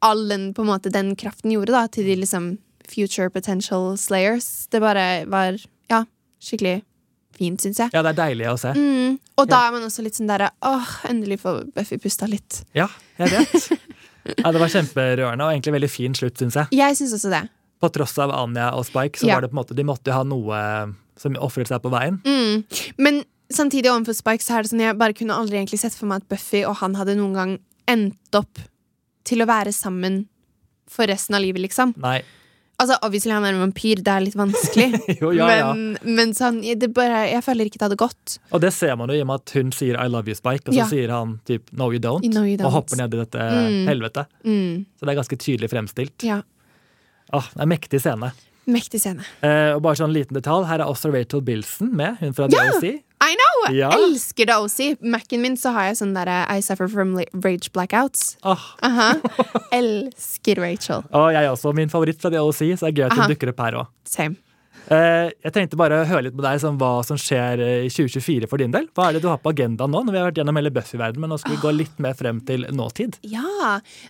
Speaker 2: all den, på en måte, den kraften gjorde da, til de liksom future potential slayers. Det bare var ja, skikkelig fint, syns jeg.
Speaker 1: ja, det er deilig å se.
Speaker 2: Mm. Og da er man også litt sånn derre åh, endelig får Buffy pusta litt.
Speaker 1: Ja, jeg vet. Ja, det var kjemperørende og egentlig veldig fin slutt, syns jeg.
Speaker 2: Jeg syns også det.
Speaker 1: På tross av Anja og Spike, så
Speaker 2: Ja.
Speaker 1: var det på en måte, de måtte jo ha noe som ofret seg på veien.
Speaker 2: Mm. Men samtidig overfor Spike så er det sånn jeg bare kunne aldri egentlig sett for meg at Buffy og han hadde noen gang endt opp til å være sammen for resten av livet, liksom.
Speaker 1: Nei.
Speaker 2: Altså, obviously han er en vampyr, det er litt vanskelig.
Speaker 1: Jo, ja, ja.
Speaker 2: Men, men sånn, det bare, jeg føler ikke det hadde gått.
Speaker 1: Og det ser man jo i og med at hun sier 'I love you, Spike', og så
Speaker 2: Ja.
Speaker 1: sier han typ 'no you don't',
Speaker 2: No, you
Speaker 1: og
Speaker 2: don't.
Speaker 1: hopper ned i dette
Speaker 2: Mm.
Speaker 1: helvetet.
Speaker 2: Mm,
Speaker 1: Så det er ganske tydelig fremstilt.
Speaker 2: ja.
Speaker 1: Åh, det er en mektig scene.
Speaker 2: Mektig scene.
Speaker 1: Eh, og bare sånn liten detalj, Her er også Rachel Bilson med, hun fra
Speaker 2: Ja!
Speaker 1: DOC.
Speaker 2: I know!
Speaker 1: Ja.
Speaker 2: Elsker det også. Mac-en min så har jeg sånn derre I suffer from la- rage blackouts.
Speaker 1: Åh,
Speaker 2: Aha. Elsker Rachel.
Speaker 1: Ah, og jeg er også min favoritt fra DOC, så det er gøy at hun
Speaker 2: Aha.
Speaker 1: dukker opp her òg.
Speaker 2: Same.
Speaker 1: jeg tenkte bare å høre litt med deg som hva som skjer eh, i 2024 for din del. Hva er det du har på agendaen nå? Når vi har vært gjennom hele Buffy-verdenen, men nå skal vi gå litt mer frem til nåtid.
Speaker 2: Ja.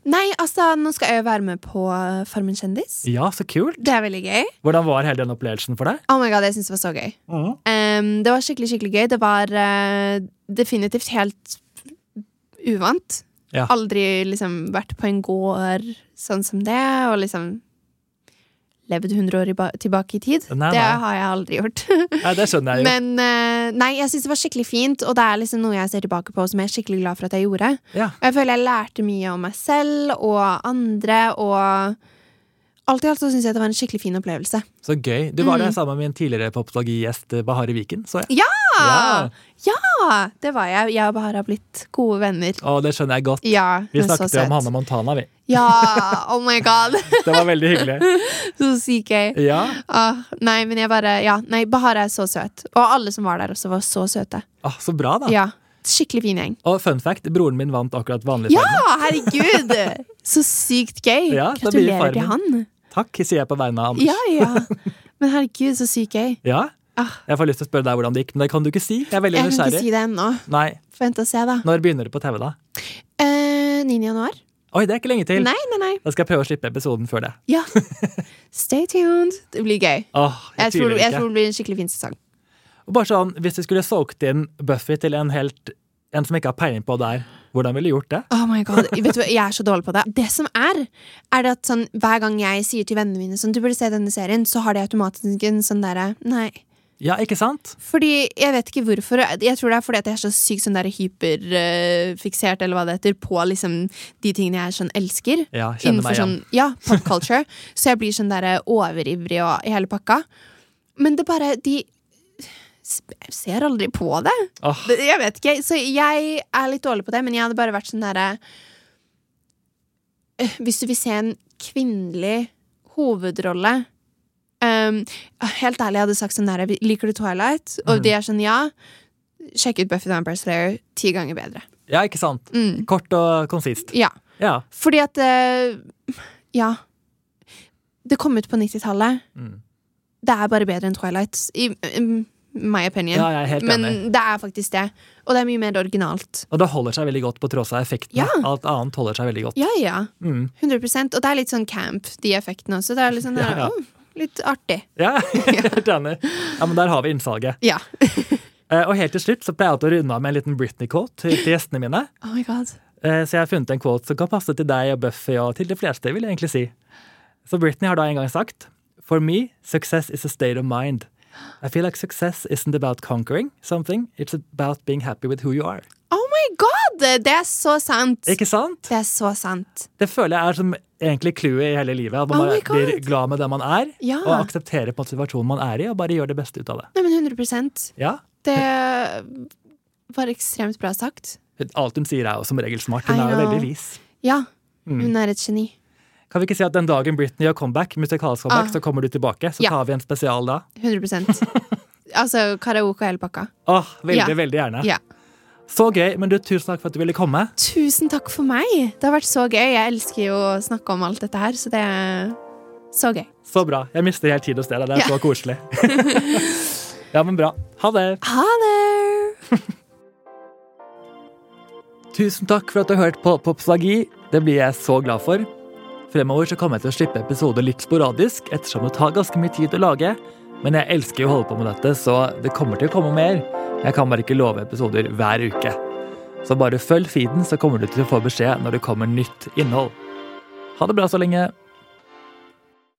Speaker 2: Nei, altså, nå skal jeg jo være med på eh, Farmen kjendis.
Speaker 1: Ja, så kult!
Speaker 2: Det er veldig gøy.
Speaker 1: Hvordan var hele den opplevelsen for deg?
Speaker 2: Oh my god, jeg syns det var så gøy. Um, det var skikkelig, skikkelig gøy. Det var eh, definitivt helt uvant.
Speaker 1: Ja.
Speaker 2: Aldri liksom vært på en gård sånn som det, og liksom levd 100 år i ba- tilbake i tid.
Speaker 1: Nei,
Speaker 2: Det
Speaker 1: nei.
Speaker 2: har jeg aldri gjort.
Speaker 1: Nei, det skjønner jeg jo.
Speaker 2: Men eh, nei, jeg syns det var skikkelig fint, og det er liksom noe jeg ser tilbake på som jeg er skikkelig glad for at jeg gjorde.
Speaker 1: Ja.
Speaker 2: Og jeg føler jeg lærte mye om meg selv og andre, og alt i alt så syns jeg det var en skikkelig fin opplevelse.
Speaker 1: Så gøy. Du var der
Speaker 2: Mm.
Speaker 1: sammen med min tidligere popologigjest Bahare Viken, så jeg.
Speaker 2: Ja!
Speaker 1: Ja.
Speaker 2: Ja, det var jeg. Jeg og Bahar har blitt gode venner.
Speaker 1: Å, det skjønner jeg godt.
Speaker 2: Ja, hun
Speaker 1: Vi
Speaker 2: er så
Speaker 1: snakket jo
Speaker 2: søt.
Speaker 1: om Hanne Montana, vi.
Speaker 2: Ja, oh my god.
Speaker 1: Det var veldig hyggelig.
Speaker 2: så sykt gøy.
Speaker 1: Ja.
Speaker 2: Ah, nei, men jeg bare Ja, nei, Bahar er så søt. Og alle som var der også, var så søte.
Speaker 1: Ah, så bra, da.
Speaker 2: Ja, Skikkelig fin gjeng.
Speaker 1: Og fun fact, broren min vant akkurat vanlig
Speaker 2: Ja,
Speaker 1: farmen.
Speaker 2: herregud! Så sykt gøy.
Speaker 1: Ja, da blir det
Speaker 2: Gratulerer til han.
Speaker 1: Takk, sier jeg på vegne av Anders.
Speaker 2: Ja, ja. Men herregud, så sykt gøy.
Speaker 1: Ja?
Speaker 2: Ah.
Speaker 1: Jeg får lyst til å spørre deg hvordan det gikk, men det kan du ikke si. Jeg er veldig
Speaker 2: Jeg kan
Speaker 1: nysgjerrig.
Speaker 2: ikke si det ennå.
Speaker 1: Nei.
Speaker 2: Vent og se, da.
Speaker 1: Når begynner du på TV, da?
Speaker 2: Eh, 9. januar?
Speaker 1: Oi, det er ikke lenge til.
Speaker 2: Nei, nei, nei.
Speaker 1: Da skal jeg prøve å slippe episoden før det.
Speaker 2: Ja. Stay tuned. Det blir gøy.
Speaker 1: Åh, jeg,
Speaker 2: Jeg tror,
Speaker 1: tviler
Speaker 2: jeg
Speaker 1: ikke.
Speaker 2: tror det blir en skikkelig fin sesong.
Speaker 1: Og Bare sånn, Hvis du skulle solgt inn Buffy til en helt En som ikke har peiling på der, hvordan ville du gjort det?
Speaker 2: Oh my god, vet du hva, Jeg er så dårlig på det. Det som er, er det at sånn, hver gang jeg sier til vennene mine sånn, du burde se denne serien, så har de automatisk en sånn derre nei.
Speaker 1: Ja, ikke sant?
Speaker 2: Fordi jeg vet ikke hvorfor. Jeg tror det er fordi at jeg er så sykt sånn der hyperfiksert eller hva det heter, på liksom de tingene jeg sånn elsker.
Speaker 1: Ja, kjenner
Speaker 2: innenfor
Speaker 1: meg igjen.
Speaker 2: sånn, ja, pop culture. så jeg blir sånn der overivrig og i hele pakka. Men det bare De s- jeg ser aldri på det.
Speaker 1: Åh,
Speaker 2: det. Jeg vet ikke. Så jeg er litt dårlig på det, men jeg hadde bare vært sånn derre eh, Hvis du vil se en kvinnelig hovedrolle ehm, Helt ærlig, jeg hadde sagt sånn derre Liker du Twilight? Og
Speaker 1: Mm.
Speaker 2: de er sånn ja. Sjekk ut Buffy the Vampire Slayer ti ganger bedre.
Speaker 1: ja, ikke sant?
Speaker 2: Mm.
Speaker 1: Kort og konsist.
Speaker 2: Ja.
Speaker 1: Ja.
Speaker 2: Fordi at eh, Ja. Det kom ut på 90-tallet.
Speaker 1: Mm.
Speaker 2: Det er bare bedre enn Twilight, i mm, my opinion.
Speaker 1: ja, jeg er helt
Speaker 2: Men
Speaker 1: enig.
Speaker 2: det er faktisk det. Og det er mye mer originalt.
Speaker 1: Og det holder seg veldig godt på tross av effektene.
Speaker 2: Ja.
Speaker 1: Alt annet holder seg veldig godt.
Speaker 2: Ja, ja.
Speaker 1: Mm.
Speaker 2: 100 Og det er litt sånn camp, de effektene også. Det er litt sånn der,
Speaker 1: Ja, ja.
Speaker 2: «Åh, litt artig.
Speaker 1: Ja, helt enig. Ja, men der har vi innsalget.
Speaker 2: Ja.
Speaker 1: Eh, Og helt til slutt så pleier jeg alltid å runde av med en liten Britney-quote til til gjestene mine.
Speaker 2: Oh my god.
Speaker 1: Eh, Så jeg har funnet en quote som kan passe til deg og Buffy og til de fleste, vil jeg egentlig si. Så Britney har da en gang sagt For me, success is a state of mind. I feel like success isn't about conquering something, it's about being happy with who you are.
Speaker 2: Oh my god! Det er så sant!
Speaker 1: Ikke sant?
Speaker 2: Det er så sant.
Speaker 1: Det føler jeg er som egentlig clouet i hele livet. At
Speaker 2: Oh
Speaker 1: man
Speaker 2: my
Speaker 1: bare blir
Speaker 2: God.
Speaker 1: glad med det man er,
Speaker 2: Ja.
Speaker 1: og aksepterer på situasjonen man er i, og bare gjør det beste ut av det.
Speaker 2: Nei, men 100
Speaker 1: Ja.
Speaker 2: Det var ekstremt bra sagt.
Speaker 1: Alt hun sier er jo som regel smart.
Speaker 2: I
Speaker 1: Hun er jo
Speaker 2: know.
Speaker 1: veldig vis.
Speaker 2: Ja.
Speaker 1: Mm.
Speaker 2: Hun er et geni.
Speaker 1: Kan vi ikke si at den dagen Britney gjør comeback, musikalsk comeback,
Speaker 2: Ah.
Speaker 1: så kommer du tilbake? Så
Speaker 2: Ja.
Speaker 1: tar vi en spesial da.
Speaker 2: 100 Altså karaoke og hele pakka.
Speaker 1: Åh, veldig,
Speaker 2: Ja.
Speaker 1: veldig gjerne.
Speaker 2: Ja.
Speaker 1: Så gøy, men du, tusen takk for at du ville komme.
Speaker 2: Tusen takk for meg! Det har vært så gøy. Jeg elsker jo å snakke om alt dette her, så det er så gøy.
Speaker 1: Så bra. Jeg mister helt tid hos deg. Det er
Speaker 2: Ja.
Speaker 1: så koselig. ja, men bra. Ha det.
Speaker 2: Ha det!
Speaker 1: Tusen takk for at du har hørt på Popslagi. Det blir jeg så glad for. Fremover så kommer jeg til å slippe episoder litt sporadisk, ettersom det tar ganske mye tid å lage. Men jeg elsker jo å holde på med dette, så det kommer til å komme mer. Jeg kan bare ikke love episoder hver uke. Så bare følg feeden, så kommer du til å få beskjed når det kommer nytt innhold. Ha det bra så lenge.